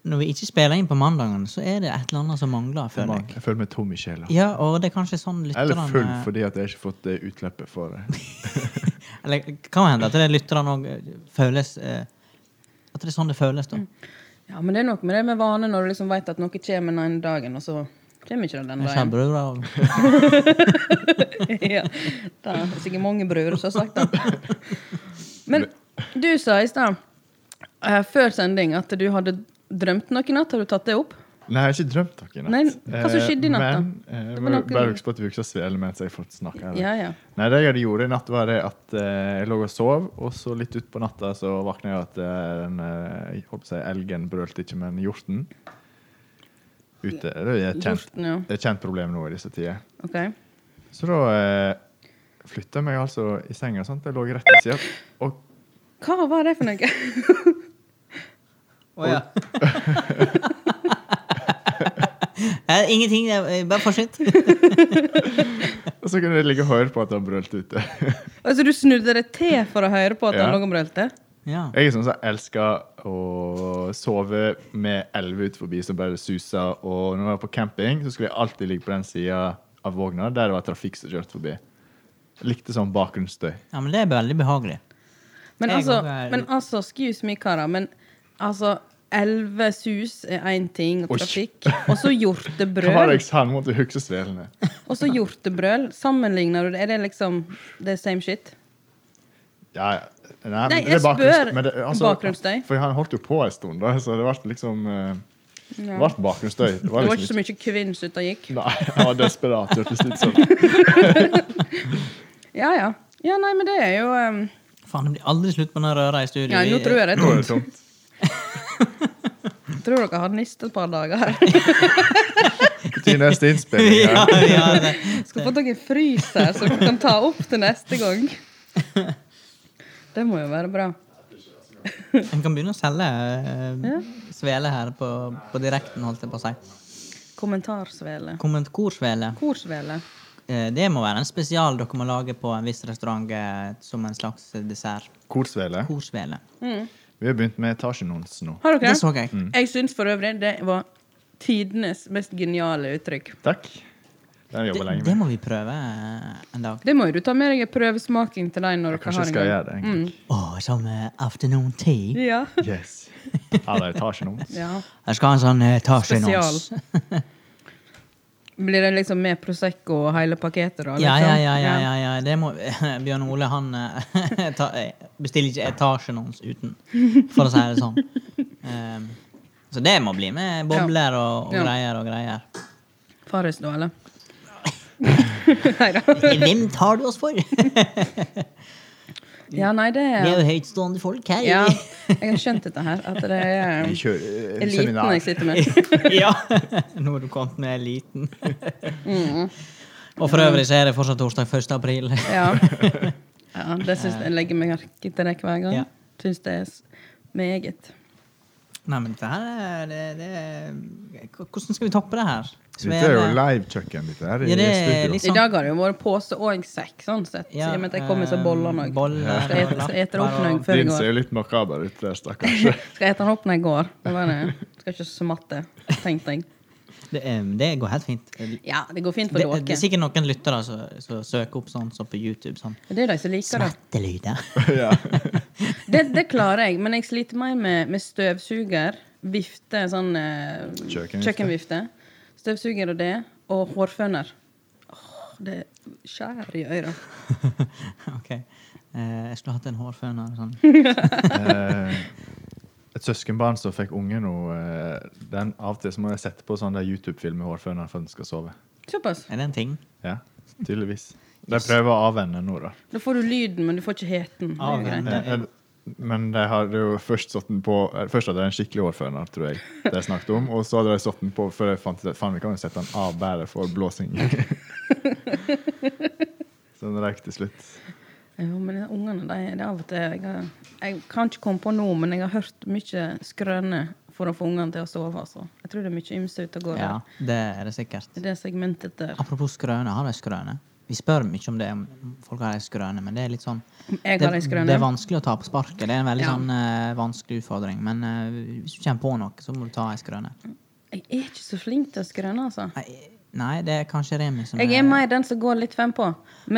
når vi ikke spiller inn på mandagene, så er det et eller annet som mangler, føler jeg.
Jeg føler meg tom i sjela.
Ja, og det er kanskje sånn lytterne
Eller full fordi at jeg ikke har fått det utløpet for eh, det.
Eller kan hende at det er lytterne òg føles eh, At det er sånn det føles,
Mm.
da.
Ja, men det er noe med det med vane når du liksom vet at noe kommer den ene dagen, og så kommer ikke det den
Jeg kjenner
dagen.
bror av
ja. Det er sikkert mange brødre som har sagt det. Men du sa i stad, eh, før sending, at du hadde drømt noe i natt. Har du tatt det opp?
Nei, jeg har ikke drømt noe i natt.
Nei, hva som skjedde i natt da?
Eh, Men
Det
jeg
var
må
noe-
bare huske på at vi ikke har svele mens jeg har fått snakke. her.
Ja, ja.
Nei, det jeg gjorde i natt, var det at eh, jeg lå og sov, og så litt utpå natta så våkna jeg av at eh, den eh, jeg holdt på å si elgen brølte ikke, men hjorten ute. Det er et kjent,
Hjorten, ja.
det er et kjent problem nå i disse tider.
OK.
Så da eh, flytta jeg meg altså i senga, sant? jeg lå rett ved sida, og
Hva var det for noe?
Å ja. Eh, Ingenting. eh, Bare fortsett.
og så kunne jeg ligge og høre på at han brølte ute.
Altså, du snudde deg til for å høre på at han
Ja.
lå og brølte?
Ja.
Jeg er sånn som elsker å sove med elve ut forbi som bare suser. Og når jeg var på camping, så skulle jeg alltid ligge på den sida av vogna der det var trafikk som kjørte forbi. Jeg likte sånn bakgrunnsstøy.
ja, men det er veldig behagelig.
Men
Jeg går
altså,
bare-
men altså, excuse me, karer, men altså Elleve sus er én ting, og
Oi.
trafikk. Og så hjortebrøl.
Karex han måtte hukse svelene.
Og så hjortebrøl. Sammenligner du det? Er det liksom det er same shit?
Ja, ja. Nei, men
Nei,
det er
jeg
bakgrunns-
spør
men det- altså,
bakgrunnsstøy.
For han holdt jo på en stund, da, så det ble liksom eh, Det ble bakgrunnsstøy. Det var
Det var
liksom
ikke så mye kvinns ute og gikk.
Nei, jeg var desperat. hørtes ut som.
Ja, ja. Ja, nei, men det er jo um,
Faen, det blir aldri slutt på den røra i studio.
Ja, nå
Vi-
tror jeg det er
Nå er
tomt.
det sånn. tomt.
Tror dere har nist et par dager her.
Til neste innspilling.
ja,
Ja.
ja, det.
Skal få dere en fryser som dere kan ta opp til neste gang. Det må jo være bra.
En kan begynne å selge eh,
Ja.
svele her på, på direkten, holdt jeg på å si.
Kommentarsvele.
Komment korsvele.
Korsvele.
Eh, Det må være en spesial dere må lage på en viss restaurant eh, som en slags dessert.
Korsvele.
Korsvele.
Vi har begynt med etasjenons nå.
Har dere
Det så Mm, jeg.
Jeg syns for øvrig det var tidenes mest geniale uttrykk.
Takk. Den jobber
Det,
jeg lenge
det
med.
må vi prøve eh, en dag.
Det må jo du ta med deg en prøvesmaking til deg når dere
Kanskje
har
jeg
en
skal
gang. Mm.
gjøre det. en gang.
Å, som eh, afternoon tea.
Ja.
Yes. Eller etasjenons.
ja.
Jeg skal ha en sånn etasjenons.
Spesial. Blir det liksom med Prosecco og hele pakketet, da?
Ja,
liksom?
ja, ja, ja, ja, ja. Det må, Bjørn Ole han eh, ta, eh, bestiller ikke etasjenons uten, for å si det sånn. Ehm, så det må bli med bobler og, og
Ja.
greier og greier.
Farris, da, eller? Nei da.
Hvem tar du oss for? Vi
Ja, nei, det
er
er
jo høytstående folk her.
Ja, jeg har skjønt dette her. At det er
Vi kjører eh,
eliten
seminar.
jeg sitter med.
ja. Nå har du kommet med eliten. og for øvrig så er det fortsatt torsdag 1. april.
Mm. Ja. ja det syns jeg legger meg merke til det hver gang.
Ja.
Syns det er s- meget.
Nei, men dette her er det, det er- Hvordan skal vi toppe det her?
Dette er jo
Svele-
livekjøkken. Dette her i
Ja, det er
studio.
litt
I dag har det jo vært pose og sekk, sånn sett. I og med at jeg kommer så boller
eh,
nå.
boller
Skal
og
jeg ete- skal jeg ete det opp
lapper
nå
og-
før jeg
Din ser
går?
jo litt makaber ut der, stakkars.
Skal jeg ete den opp når jeg går? Det var det. Skal ikke smatte, tenkte jeg.
Det, eh, det går helt fint. Det,
Ja, det går fint for
det er
dere.
sikkert noen lyttere som som søker opp sånn som på YouTube. Sånn
Det er de som liker det.
smettelyder.
ja.
det. Det klarer jeg, men jeg sliter mer med, med støvsuger, vifte, sånn eh,
Kjøkkenvifte.
kjøkkenvifte. Støvsuger og det, og hårføner. Åh, det skjærer i øra.
ok. Eh, jeg skulle hatt en hårføner. Sånn.
Eh, et søskenbarn som fikk unge nå, eh, den av og til så må jeg sette på sånn der YouTube-film med hårføner for at den skal sove.
Såpass.
Er det en ting?
Ja, tydeligvis. De prøver å avvenne nå, da.
Da får du lyden, men du får ikke heten. Det er jo greit.
Eh, eh, Men de hadde jo først satt den på eh, Først hadde de en skikkelig hårføner, tror jeg. Det jeg snakket om Og så hadde de satt den på før jeg fant ut at faen, vi kan jo sette den av bare for blåsing. så den røyk til slutt.
Jo, men de ungene, de, det er av og til jeg, har- jeg kan ikke komme på noe, men jeg har hørt mye skrøne for å få ungene til å sove. Altså. Jeg tror det er mye ymse ute og går.
Ja,
der.
det er det sikkert.
I det segmentet der.
Apropos skrøne, har de skrøne? Vi spør mye om det, om folk har ei skrøne, men det er litt sånn
Jeg
det,
har ei skrøne.
det er vanskelig å ta på sparket. Det er en veldig
Ja.
sånn eh, vanskelig utfordring. Men eh, hvis du kommer på noe, så må du ta ei skrøne.
Jeg er ikke så flink til å skrøne, altså.
Nei, nei, det er kanskje Remi som
Jeg er mer den som går litt frem på.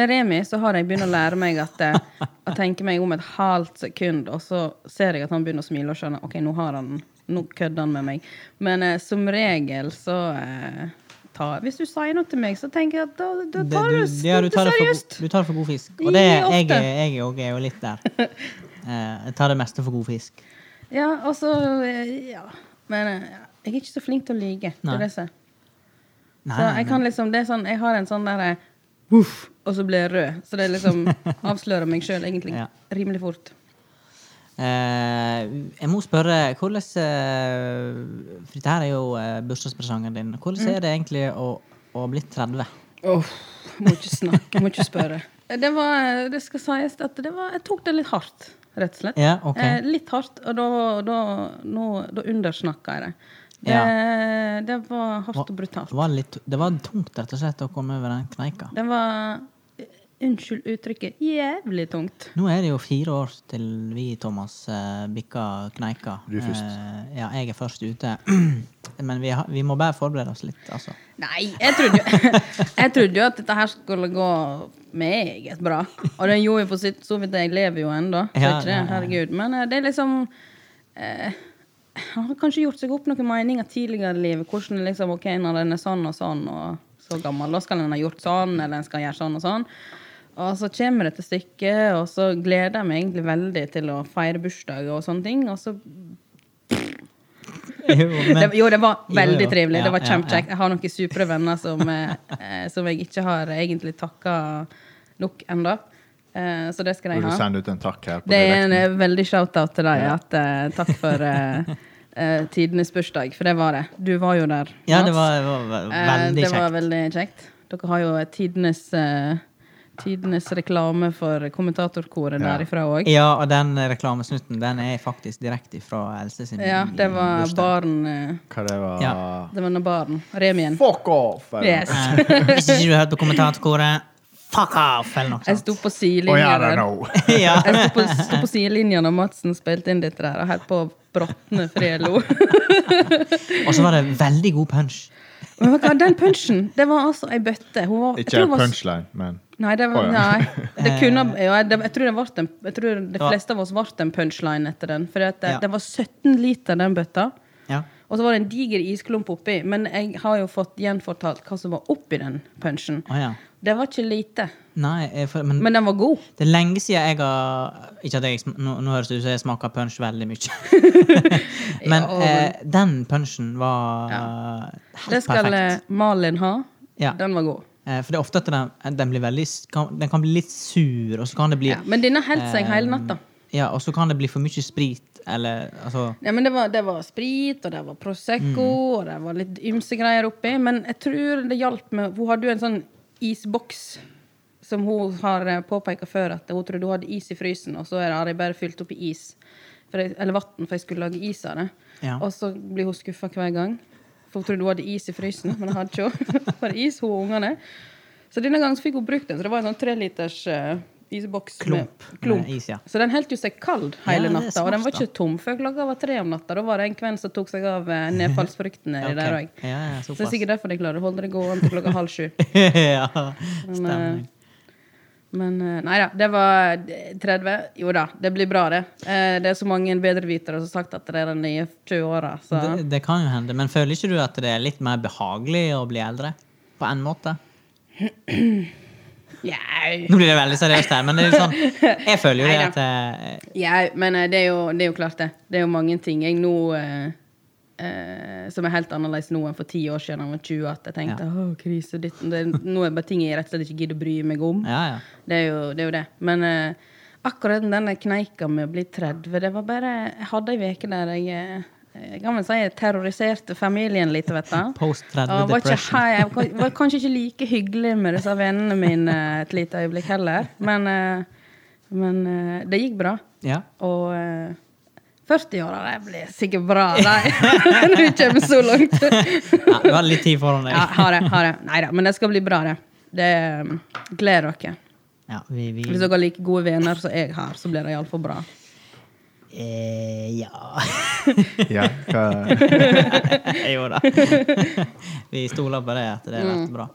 Med Remi så har jeg begynt å lære meg at eh, å tenke meg om et halvt sekund, og så ser jeg at han begynner å smile og skjønner ok, nå har han den. nå kødder han med meg. Men eh, som regel så eh, ta, Hvis du sier noe til meg, så tenker jeg at da, da
Det-
tar du,
du- ja, du tar det for god-
seriøst.
Du tar det for god fisk.
Det
Og det,
gir
jeg,
ofte.
er- jeg er jo- jeg er jo litt der. Eh, Jeg tar det meste for god fisk.
Ja, og så eh, Ja. Men eh, jeg er ikke så flink til å lyge. Det
Nei.
er det som er.
Nei,
Så
nei,
jeg kan liksom, det er sånn, jeg har en sånn derre Uff, og så blir jeg rød. Så det er liksom avslører meg sjøl egentlig
Ja.
rimelig fort.
Eh, jeg må spørre hvordan eh, For dette her er jo eh, bursdagspresangen din. Hvordan
Mm.
er det egentlig å, å bli 30?
Uff, må ikke snakke, må ikke spørre. Det var, det skal sies at det var, jeg tok det litt hardt, rett og slett.
Ja, ok.
eh, litt hardt, og da, da, nå, da undersnakka jeg det. Det, det var hardt og brutalt.
Det var, litt, det var tungt rett og slett å komme over den kneika.
Det var, eh, unnskyld uttrykket, jævlig tungt.
Nå er det jo fire år til vi, Thomas, eh, bikker kneika.
Du er først.
Eh, ja, jeg er først ute. Men vi, har- vi må bare forberede oss litt, altså.
Nei, jeg trodde, jo, jeg trodde jo at dette her skulle gå meget bra. Og det gjorde jo for sitt, så vidt jeg lever jo ennå.
Ja,
Ja,
ja, ja.
Herregud. Men eh, det er liksom eh, han har kanskje gjort seg opp noen meninger tidligere i livet. Hvordan det liksom, ok, Når en er sånn og sånn og så gammel, da skal en ha gjort sånn, eller en skal gjøre sånn og sånn. Og så kommer det til stykket, og så gleder jeg meg egentlig veldig til å feire bursdag og sånne ting. Og så
Jo, men,
det, jo, det var
Jo,
veldig
jo.
trivelig.
Ja,
det var
ja,
kjempekjekt. Jeg har noen supre venner som, eh, eh, som jeg ikke har egentlig takka nok ennå. Eh, så det skal
Vil
jeg
du
ha.
sende ut en takk her? på
Det er en
direkten?
eh, veldig shout-out til deg. At, eh, takk for eh, eh, tidenes bursdag, for det var det. Du var jo der.
ja, det
Mats.
var, var, var
Eh,
veldig
det var
kjekt.
veldig kjekt. Dere har jo eh, tidenes eh, Tidenes reklame for kommentatorkoret
Ja.
derifra òg.
Ja, og den eh, reklamesnutten den er faktisk direkte fra Else sin
Ja, det var
bursdag.
baren. eh,
Hva det var
Ja.
Det var nå baren. Remien.
Fuck off! eller?
Yes.
Eh, Hvis ikke du har hørt på kommentarkoret, fuck off! Eller noe
Jeg
sånt.
sto på
Oh, yeah,
sidelinja
I
der.
know.
ja.
Jeg sto på, sto på sidelinja når Madsen spilte inn dette der, og helt på bråtne frelo.
Og så var det veldig god punch.
Men vet du hva, den punchen, det var altså ei bøtte. Hun var, jeg
Ikke
tror hun var-
punchline, men
Nei, det var,
Å, ja.
nei. Det kunne, ja, jeg, jeg tror det vart en, jeg tror de
var-
fleste av oss ble en punchline etter den. For det,
Ja.
det var 17 liter, den bøtta.
Ja.
Og så var det en diger isklump oppi. Men jeg har jo fått gjenfortalt hva som var oppi den punchen.
Å, ja.
Det var ikke lite,
Nei, eh, for, men,
men den var god.
det er lenge siden jeg har Ikke at jeg sm- Nå, nå høres det ut som jeg smaker punch veldig mye. men
Ja,
eh, den punchen var eh,
Det
helt
skal eh,
perfekt.
Malin ha.
Ja.
Den var god.
Eh, for det er ofte at den, den blir veldig s- kan, Den kan bli litt sur, og så kan det bli eh,
Ja, men denne holdt seg hele natta.
Ja, og så kan det bli for mye sprit, eller altså
Ja, men det var, det var sprit, og det var Prosecco,
Mm.
og det var litt ymse greier oppi. Men jeg tror det hjalp med Hun hadde jo en sånn isboks som hun har påpeka før, at hun trodde hun hadde is i frysen, og så er det- har jeg bare fylt opp i is. For jeg, eller vann, for jeg skulle lage is av det.
Ja.
Og så blir hun skuffa hver gang. For hun trodde hun hadde is i frysen, men det hadde ikke hun. Bare is, hun og ungene. Så denne gangen så fikk hun brukt den. Så det var en sånn treliters uh, isboks
Klump
med klump.
med is, ja.
Så den holdt jo seg kald hele
Ja, det er
natta, og den var
smart, da.
ikke tom før klokka var tre om natta. Da var det en kven som tok seg av eh, nedfallsfruktene i
Ok.
det der òg.
Ja, ja,
Så det
såpass.
er sikkert derfor de klarer å holde det gående til klokka halv sju.
ja,
Men, eh,
stemmer.
men eh, nei da, det var eh, 30. Jo da, det blir bra, det. Eh, Det er så mange bedrevitere som har sagt at det er de nye 20 åra, så
Det, det kan jo hende. Men føler ikke du at det er litt mer behagelig å bli eldre? På en måte?
Jau.
Nå blir det veldig seriøst her, men det er jo sånn Jeg føler jo det at eh,
Jau, men eh, det er, jo, det er jo klart, det. Det er jo mange ting jeg nå eh, eh, som er helt annerledes nå enn for ti år siden da jeg var 20. At jeg tenkte åh, krise, ditt det, er- Nå er det bare ting jeg rett og slett ikke gidder å bry meg om.
Ja, ja.
Det er jo det. Er jo det. Men eh, akkurat den der kneika med å bli 30, det var bare Jeg hadde ei uke der jeg eh, jeg kan vel si jeg terroriserte familien litt, vet du.
Post
Og
30
var, ikke,
depression.
hei- jeg var, var kanskje ikke like hyggelig med disse vennene mine eh, et lite øyeblikk heller. Men, eh, men eh, det gikk bra.
Ja.
Og eh, 40-åra, det blir sikkert bra, de. Når du kommer så langt.
ja. Du har litt tid foran
Ja,
deg.
ha det. ha det. Nei da, men det skal bli bra, det. det eh, gleder dere.
Ja, vi, vi
Hvis dere har like gode venner som jeg har, så blir det iallfall bra.
eh, Ja.
ja, hva,
jo da. vi stoler på det, at det blir
Mm.
bra.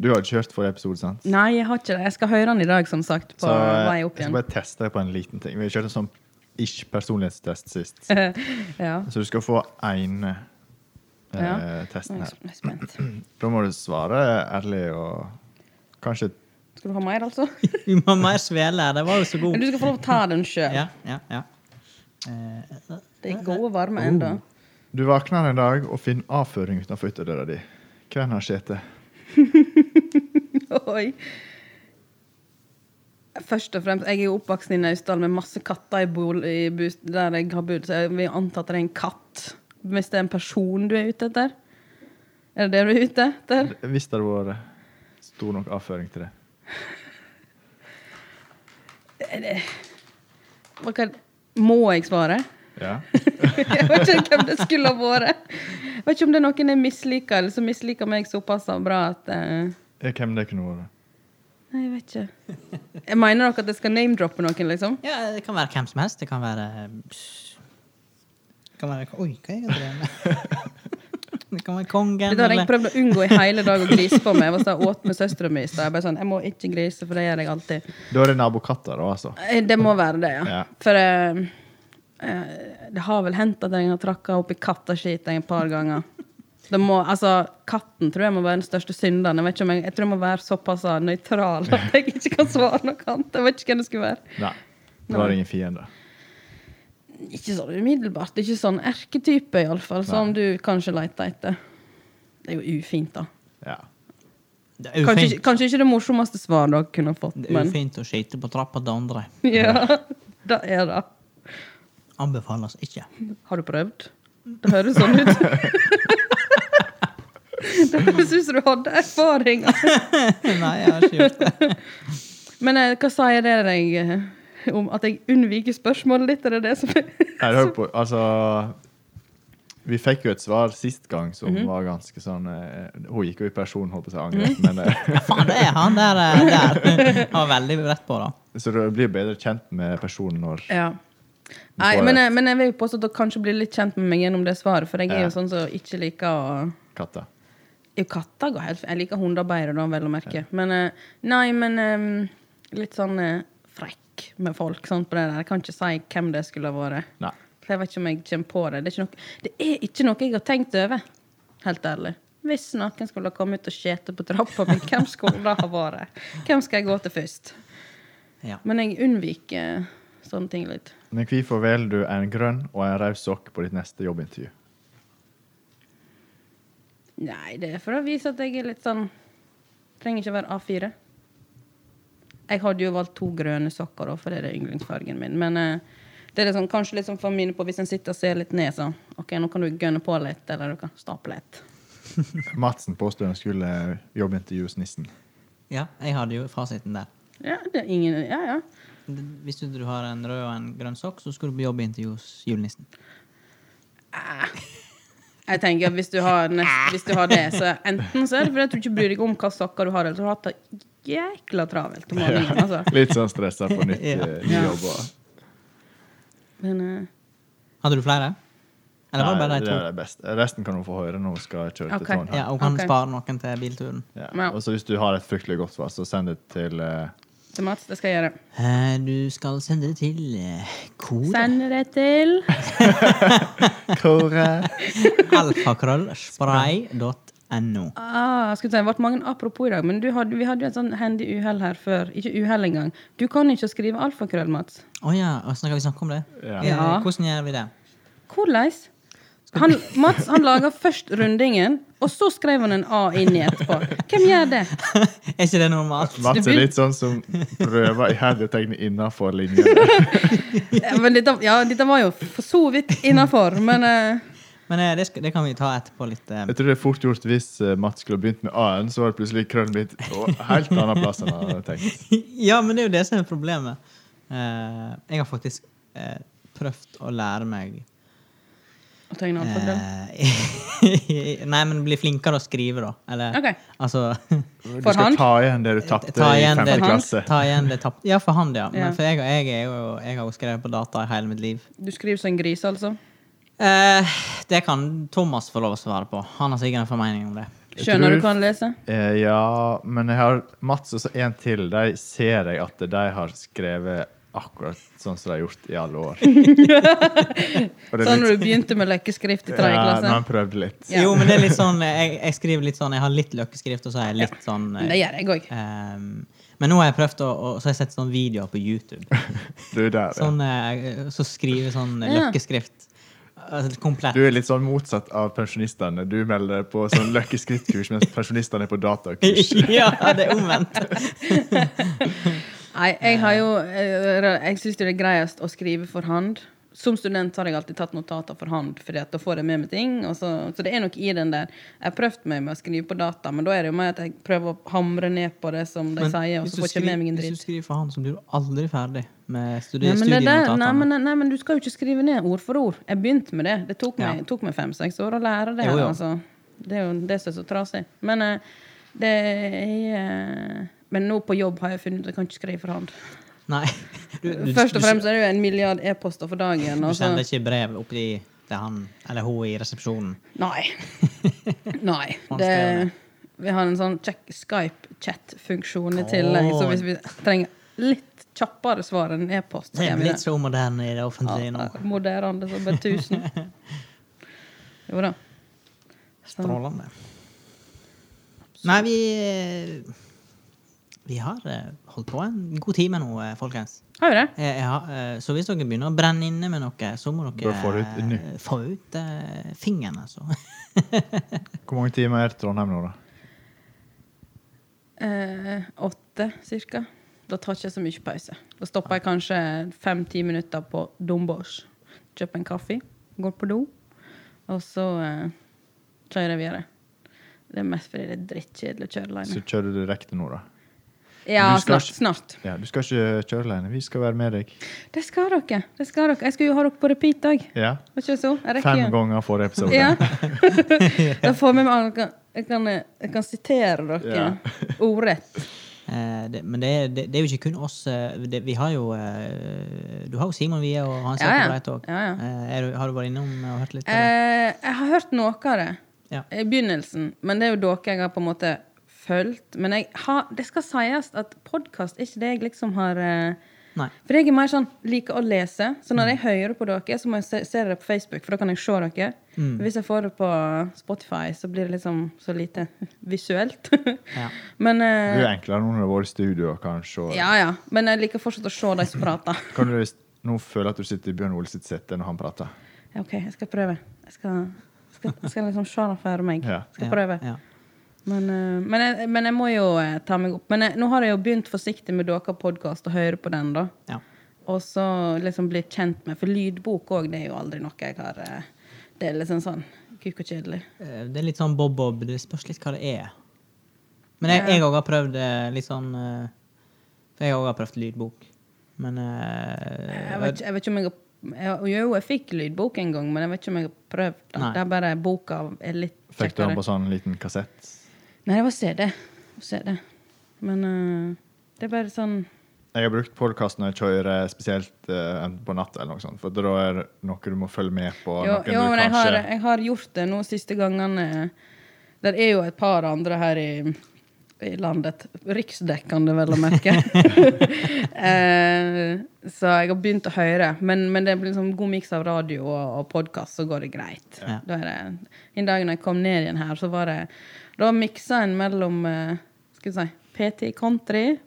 Du har ikke hørt forrige episode, sant?
Nei, jeg har ikke det. Jeg skal høre den i dag, som sagt. På
Så eh,
vei
jeg
opp
skal
igjen.
bare teste deg på en liten ting. Vi kjørte en sånn ish-personlighetstest sist.
Ja.
Så du skal få ene eh,
Ja.
testen
Jeg
her.
er spent.
Da må du svare ærlig og kanskje
Skal du ha mer, altså?
Vi må ha mer svele her. Det var jo så
Men
god.
du skal få lov å ta den sjøl.
Ja, ja, ja. Eh,
Det er gode, varme ennå.
Du våkner en dag og finner avføring utenfor ytterdøra di. Hvem har skjete?
Oi. Først og fremst, Jeg er jo oppvokst i Naustdal med masse katter i bol, i bus, der jeg har bodd, så jeg vil anta at det er en katt. Hvis det er en person du er ute etter? Er det det du er ute etter?
Hvis det hadde vært stor nok avføring til det.
Hva kan- Må jeg svare?
Ja.
Jeg vet ikke hvem det skulle ha vært. Jeg vet ikke om det er noen jeg misliker, eller som misliker meg såpass bra at eh,
Ja, Hvem det kunne vært?
Nei, jeg vet ikke. Jeg mener dere at jeg skal name-droppe noen, liksom?
ja, det kan være hvem som helst. Det kan være Det kan være Oi, hva er det jeg drev med? Det kan være kongen,
Dette har jeg
eller
prøvd å unngå i hele dag å grise på meg. Jeg var sånn, åt med søstera mi i stad. Jeg bare sånn, jeg må ikke grise, for det gjør jeg alltid.
Da er det nabokatter, da, altså.
Eh, Det må være det, ja.
Ja.
For eh, eh, Det har vel hendt at jeg har tråkka oppi katteskit et par ganger. Det må, altså, katten tror jeg må være den største synderen. Jeg, vet ikke om jeg, jeg tror jeg må være såpass nøytral at jeg ikke kan svare noe annet. Jeg vet ikke hvem det skulle være.
Nei. Du har ingen fiender.
Ikke sånn umiddelbart. Ikke sånn erketype, iallfall, som du kanskje leter etter. Det er jo ufint, da.
Ja.
Det er
Kanskje, ikke-
ufint,
kanskje ikke det morsomste svaret dere kunne fått,
det er
men
ufint å skyte på trappa til andre.
ja, det er det.
Anbefales ikke.
Har du prøvd? Det høres sånn ut. det høres ut som du hadde erfaringer.
Nei, jeg har ikke gjort det.
Men eh, hva sier det deg eh, om at jeg unnviker spørsmålet ditt? Er det det som er
Nei, hør på, altså Vi fikk jo et svar sist gang som var ganske sånn eh, Hun gikk jo i person, holdt på å si angrep, men eh,
Faen, det er han der. eh, der. Han var veldig rett på det.
Så du blir bedre kjent med personen når
Ja. Nei, men, jeg- men jeg vil jo påstå at dere kanskje blir litt kjent med meg gjennom det svaret, for jeg er
Ja.
jo sånn som ikke liker å
katta
Jo, katter går helt Jeg liker hunder bedre, da, vel å merke. Men eh, nei, men eh, litt sånn eh, frekk med folk sånn på det der. Jeg kan ikke si hvem det skulle ha vært.
Nei.
For jeg vet ikke om jeg kommer på det. Det er ikke noe, det er ikke noe jeg har tenkt over. Helt ærlig. Hvis noen skulle ha kommet ut og skjete på trappa mi, hvem skulle det ha vært? Hvem skal jeg gå til først?
Ja.
Men jeg unnviker sånne ting litt.
Men hvorfor velger du en grønn og en rød sokk på ditt neste jobbintervju?
Nei, det er for å vise at jeg er litt sånn Trenger ikke være A4. Jeg hadde jo valgt to grønne sokker, da, for det er yndlingsfargen min. Men eh, det er litt sånn, kanskje litt sånn for å minne på hvis en sitter og ser litt ned, så OK, nå kan du gønne på litt, eller du kan stappe litt.
Madsen påstår han skulle jobbintervjue nissen.
Ja, jeg hadde jo fasiten der.
Ja, det er ingen Ja, ja.
Hvis du, du har en rød og en grønn sokk, så skal du på jobbintervju hos julenissen.
Jeg tenker at hvis du har, nest, hvis du har det, så enten så er det fordi at du ikke bryr deg om hva sokker du har, eller så har du hatt det jækla travelt om morgenen. Altså.
Litt sånn stressa på nytt
Ja.
eh, ny
Ja.
jobb. og-
Men eh,
Hadde du flere? Eller var
Nei,
det bare de
det
to?
er det beste. Resten kan hun få høre når hun skal kjøre
Ok.
til Trondheim.
Ja, og kan
Ok.
spare noen til bilturen.
Ja.
Ja.
Og så hvis du har et fryktelig godt svar, så send det til eh,
til Mats, det skal jeg gjøre.
Eh, Du skal sende det til eh, kode
Send det til
Kåre.
alfakrøllspray.no.
Ah, skulle si, Det ble mange apropos i dag, men du hadde, vi hadde jo et sånn handy uhell her før. Ikke uhell engang. Du kan ikke skrive alfakrøll, Mats.
Å ja, og snakker vi snakke om det?
Ja.
Eh,
Ja.
Hvordan gjør vi det?
Hvordan? Han, Mats han laga først rundingen, og så skrev han en A inn i etterpå. Hvem gjør det?
er ikke det normalt?
Mats er litt sånn som prøver iherdig å tegne innafor linjene.
Ja, Men dette, ja, dette var jo for så vidt innafor, men eh,
Men eh, det, skal, det kan vi ta etterpå litt. eh.
Jeg tror det er fort gjort hvis eh, Mats skulle begynt med A-en, så var det plutselig krøllen blitt å- helt annen plass enn han hadde tenkt.
ja, men det er jo det som er problemet. Eh, jeg har faktisk eh, prøvd å lære meg
Å tegne alfakrøll.
eh, Nei, men bli flinkere å skrive, da. Eller
Ok.
altså
Du
For
skal
han?
ta igjen det du tapte
Ta
i
igjen
femte
det-
klasse.
Ta igjen det tapte. Ja, for han, ja. Men
Ja.
for jeg, jeg, er jo, jeg har jo skrevet på data i hele mitt liv.
Eh.
Du skriver som en gris, altså?
Eh, det kan Thomas få lov å svare på. Han har sikkert en formening om det.
Jeg
Skjønner
tror-
du hva han leser?
Eh, ja, men jeg har Mats og så en til. De ser jeg at de har skrevet akkurat sånn som de har gjort i alle år. Og det er
Sånn
litt-
når du begynte med løkkeskrift i tredje
Ja, når
klasse?
han prøvde litt.
Ja.
Jo, men det er litt sånn eh, jeg, jeg skriver litt sånn Jeg har litt løkkeskrift, og så er jeg litt sånn eh,
Det gjør jeg òg.
ehm, Men nå har jeg prøvd å å- Så har jeg sett sånne videoer på YouTube.
Du er der, ja.
Sånn, eh, så skriver sånn eh,
Ja.
løkkeskrift altså, komplett.
Du er litt sånn motsatt av pensjonistene. Du melder deg på sånn løkkeskrittkurs, mens pensjonistene er på datakurs.
ja, det er omvendt.
Nei, jeg har jo eh, Jeg syns det er greiest å skrive for hand. Som student har jeg alltid tatt notater for hand, Fordi at da får jeg med meg ting. Og så, så det er nok i den der. Jeg har prøvd meg med å skrive på data, men da er det jo mer at jeg prøver å hamre ned på det som de
Men
sier, og
hvis
så
du
får jeg ikke med meg en
skriver- Hvis
dritt.
du skriver for han, så blir du aldri ferdig med
Nei
studie,
men, det der, nei,
studienotatene.
men, nei, men du skal jo ikke skrive ned ord for ord. Jeg begynte med det. Det tok meg,
Ja.
tok meg fem-seks år å lære det.
Jo,
her,
jo.
altså. Det er jo det som er så trasig. Men eh, det er eh, Men nå på jobb har jeg funnet ut at jeg kan ikke skrive for hand.
Nei. Du, du,
Først og
du-
fremst er det jo en milliard e-poster for dagen.
Du
Og så.
sender ikke brev opp til til han eller hun i resepsjonen.
Nei. Nei.
Man
Det,
skal gjøre det.
vi har en sånn check- Skype-chat-funksjon i tillegg, så hvis vi trenger litt kjappere svar enn e-post.
Det
Gjør
er
vi
blitt så moderne i det offentlige nå.
Ja, Moderne som bare tusen. Jo da. Så,
Strålende. Nei, vi eh, Vi har eh, holdt på en god time nå, eh, folkens.
har jo det.
Eh, ja, eh, så hvis dere begynner å brenne inne med noe, så må dere
Bare få det ut nå.
eh, få ut eh, fingeren, altså.
Hvor mange timer er det Trondheim nå, da?
Eh, åtte cirka. Da tar ikke jeg så mye pause. Da stopper jeg kanskje fem-ti minutter på Dombås. Kjøper en kaffe, går på do, og så eh, kjører jeg videre. Det er mest fordi det er drittkjedelig å kjøre
Så
alene.
kjører du direkte nå, da?
Ja,
du skal
snart. snart.
Ja, du skal ikke kjøre alene. Vi skal være med deg.
Det skal dere. det skal dere. Jeg skal jo ha dere på repeat òg.
Ja.
Var ikke det så? Jeg rekker
Fem
jo.
ganger forrige episode.
Ja. da får vi med meg jeg kan, jeg, kan, jeg kan sitere dere
Ja.
ordrett.
Eh, det, men det, er- det, det er jo ikke kun oss. eh, Det, vi har jo eh, Du har jo Simon Wie og Hans
Ja,
Jakob
ja.
Breit òg.
Ja, ja.
Har du vært innom og hørt litt? eller?
Eh, jeg har hørt noe av det
Ja.
i begynnelsen, men det er jo dere jeg har på en måte fulgt. Men jeg har, det skal sies at podkast er ikke det jeg liksom har eh,
Nei.
For jeg er mer sånn liker å lese, så når jeg hører på dere, så må jeg se, se dere på Facebook, for da kan jeg se dere. Hvis jeg får det på Spotify, så blir det liksom så lite visuelt.
Ja.
Men
Det er jo
eh,
enklere nå når det har vært studio og kan se.
ja, ja. Men jeg liker fortsatt å se de som prater.
Kan du s- nå føle at du sitter i Bjørn Ole sitt sete når han prater?
Ja, OK, jeg skal prøve. Jeg skal, skal, skal liksom se det for meg.
Ja.
Skal prøve.
Ja, ja.
Men, eh, men, jeg, men jeg må jo eh, ta meg opp. Men jeg, nå har jeg jo begynt forsiktig med deres podkast og høre på den, da.
Ja.
Og så liksom bli kjent med For lydbok òg, det er jo aldri noe jeg har eh, Det er liksom sånn kuk og kjedelig.
Eh, Det er litt sånn bob-bob. Det spørs litt hva det er. Men jeg- jeg òg har prøvd eh, litt sånn eh, For jeg òg har prøvd lydbok. Men eh,
Jeg vet, ikke- jeg vet ikke om jeg har jeg- Jo, jeg fikk lydbok en gang, men jeg vet ikke om jeg har prøvd. Da.
Nei.
Det er bare boka er litt
Fikk du han
kjekkere.
på sånn liten kassett?
Nei, det var CD. CD. Men eh, det er bare sånn
Jeg har brukt podkast når jeg kjører spesielt eh, enten på natt eller noe sånt, for da er det noe du må følge med på.
Jo,
noen
jo
du
men jeg har, eh,
kanskje...
jeg har gjort det nå siste gangene. Det er jo et par andre her i, i landet. Riksdekkende, vel å merke. eh, så jeg har begynt å høre. Men, men det blir liksom god miks av radio og, og podkast, så går det greit.
Ja.
Da er det, den dagen jeg kom ned igjen her, så var det Da miksa en mellom eh, Skal vi si PT Country,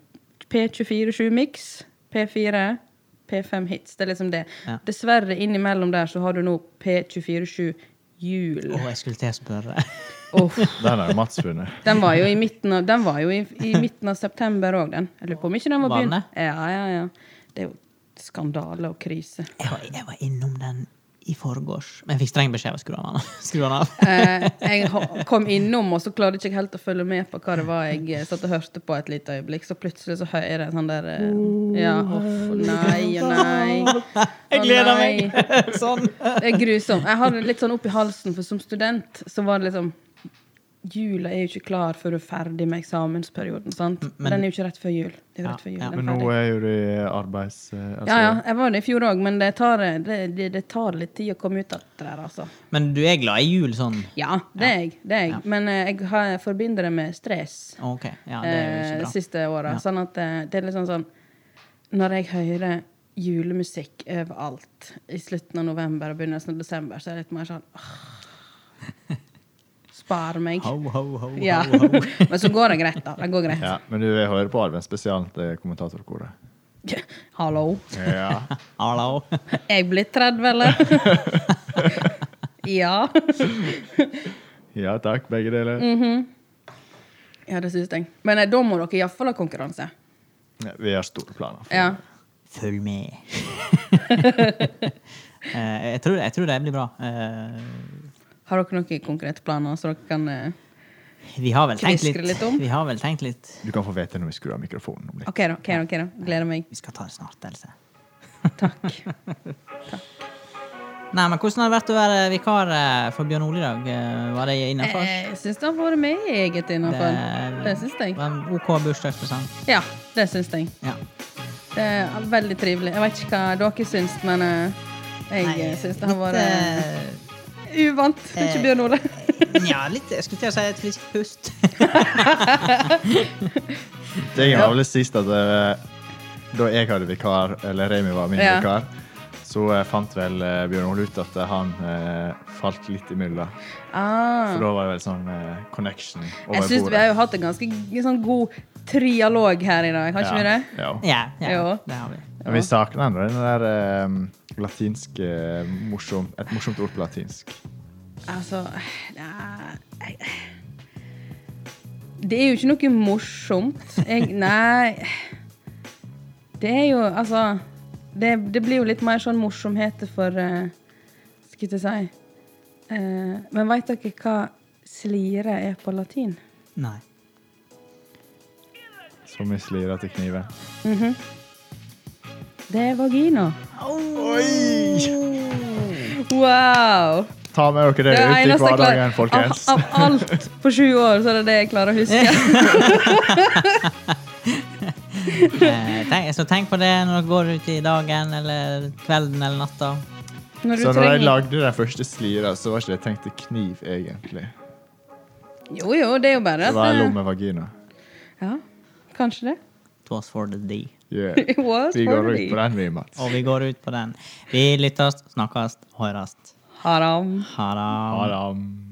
P247-miks, P4, P5 Hits. Det er liksom det.
Ja.
Dessverre, innimellom der så har du nå P247 Jul.
Å, jeg skulle til å spørre.
Uff.
Den har jo Mats funnet.
Den var jo i midten av, den var jo i, i midten av september òg, den. Jeg lurer på om ikke den var
Var den
begynt. Ja, ja, ja. Det er jo skandale og krise.
Jeg var, jeg var innom den i forgårs, men jeg fikk streng beskjed om å skru av den. Skru den av.
Eh, jeg ho- kom innom, og så klarte jeg ikke helt å følge med på hva det var jeg eh, satt og hørte på et lite øyeblikk. Så plutselig så hører jeg en sånn der eh, Ja, uff, nei og nei.
Jeg
Å,
gleder
nei.
meg! Sånn.
Det er grusomt. Jeg har det litt sånn opp i halsen, for som student så var det liksom Jula er jo ikke klar før du er ferdig med eksamensperioden. sant?
men-
Den er jo ikke rett før jul. Det er jo
Ja,
rett før jul.
ja.
den
Men
er
nå
ferdig.
er jo det arbeids... eh, altså,
Ja, ja. Jeg var det i fjor òg, men det tar, det, det, det tar litt tid å komme ut av det der, altså.
Men du er glad i jul sånn?
Ja, det er jeg. Det er jeg. Men eh, jeg, har, jeg forbinder det med stress
OK. Ja, det er jo
eh,
ikke
de
bra.
siste åra. Sånn at eh, det er litt sånn sånn Når jeg hører julemusikk overalt i slutten av november og begynnelsen av desember, så er det litt mer sånn åh, Spar meg.
Ho, ho, ho,
Ja.
ho, ho.
Men så går det greit, da. Det går greit.
Ja, men du jeg hører på Arven-spesialen til kommentatorkoret.
Hallo.
Ja.
Hallo.
Jeg blitt 30, eller? ja.
ja takk, begge deler.
Mm. Ja, det syns jeg. Men eh, da må dere iallfall ha konkurranse.
Ja, vi har store planer. For.
Ja.
Følg med. Eh, jeg, tror, jeg tror det blir bra. Eh,
Har dere noen konkrete planer, så dere kan eh,
vi har vel tenkt
Kviskre
litt.
litt om.
Vi har vel tenkt litt.
Du kan få vite når vi skrur av mikrofonen om litt.
OK, da. ok da, ok da. Gleder meg.
Vi skal ta det snart, Else.
Takk.
Nei, men Hvordan har det vært å være vikar eh, for Bjørn Ole i dag? Eh, Var det innafor?
Eh, Jeg syns det har vært meget innafor.
Det-
Det syns jeg.
Var en OK bursdagspresang.
Ja, det syns jeg.
Ja.
Det er veldig trivelig. Jeg vet ikke hva dere syns, men eh, jeg eh, syns det har
litt,
vært eh, uvant. Ikke
eh,
Bjørn Ole.
eh, Nja, litt Jeg skulle til å si et friskt pust.
Det er vel sist at eh, da jeg hadde vikar, eller Remi var min
Ja.
vikar, så eh, fant vel eh, Bjørn Ole ut at eh, han eh, falt litt imellom.
Ah.
Så da var det vel sånn eh, connection
Jeg
over
syns vi
bordet.
har jo hatt en ganske g- sånn god trialog her i dag, har ikke vi det?
Ja. Ja.
Ja, ja,
Jo.
det har vi.
Men vi savner ennå den der eh, latinske eh, morsom, Et morsomt ord på latinsk.
Altså nei, jeg- Det er jo ikke noe morsomt. Jeg, nei Det er jo altså det, det blir jo litt mer sånn morsomheter for eh, Skal jeg si Eh, Men veit dere hva slire er på latin?
Nei.
Som vi slirer til kniven.
Det er vagina.
Oi!
Wow!
Ta med dere det,
Det er
ut i
eneste jeg klarer-
hverdagen, folkens.
Av, av alt på sju år, så er det det jeg klarer å huske.
Eh, tenk, så tenk på det når dere går ut i dagen eller kvelden eller natta.
Når du
Så når de
trenger
lagde den første slira, så var ikke det tenkt til kniv, egentlig.
Jo, jo, det er jo bare
Det
at
var
eh,
lommevagina.
Ja, kanskje det.
Toss for the D.
Yeah.
It was
Vi går
for
ut
me.
på den, vi, Mats.
Og vi går ut på den. Vi lyttes, snakkes, høres.
Haram.
Ha det.
Ha det.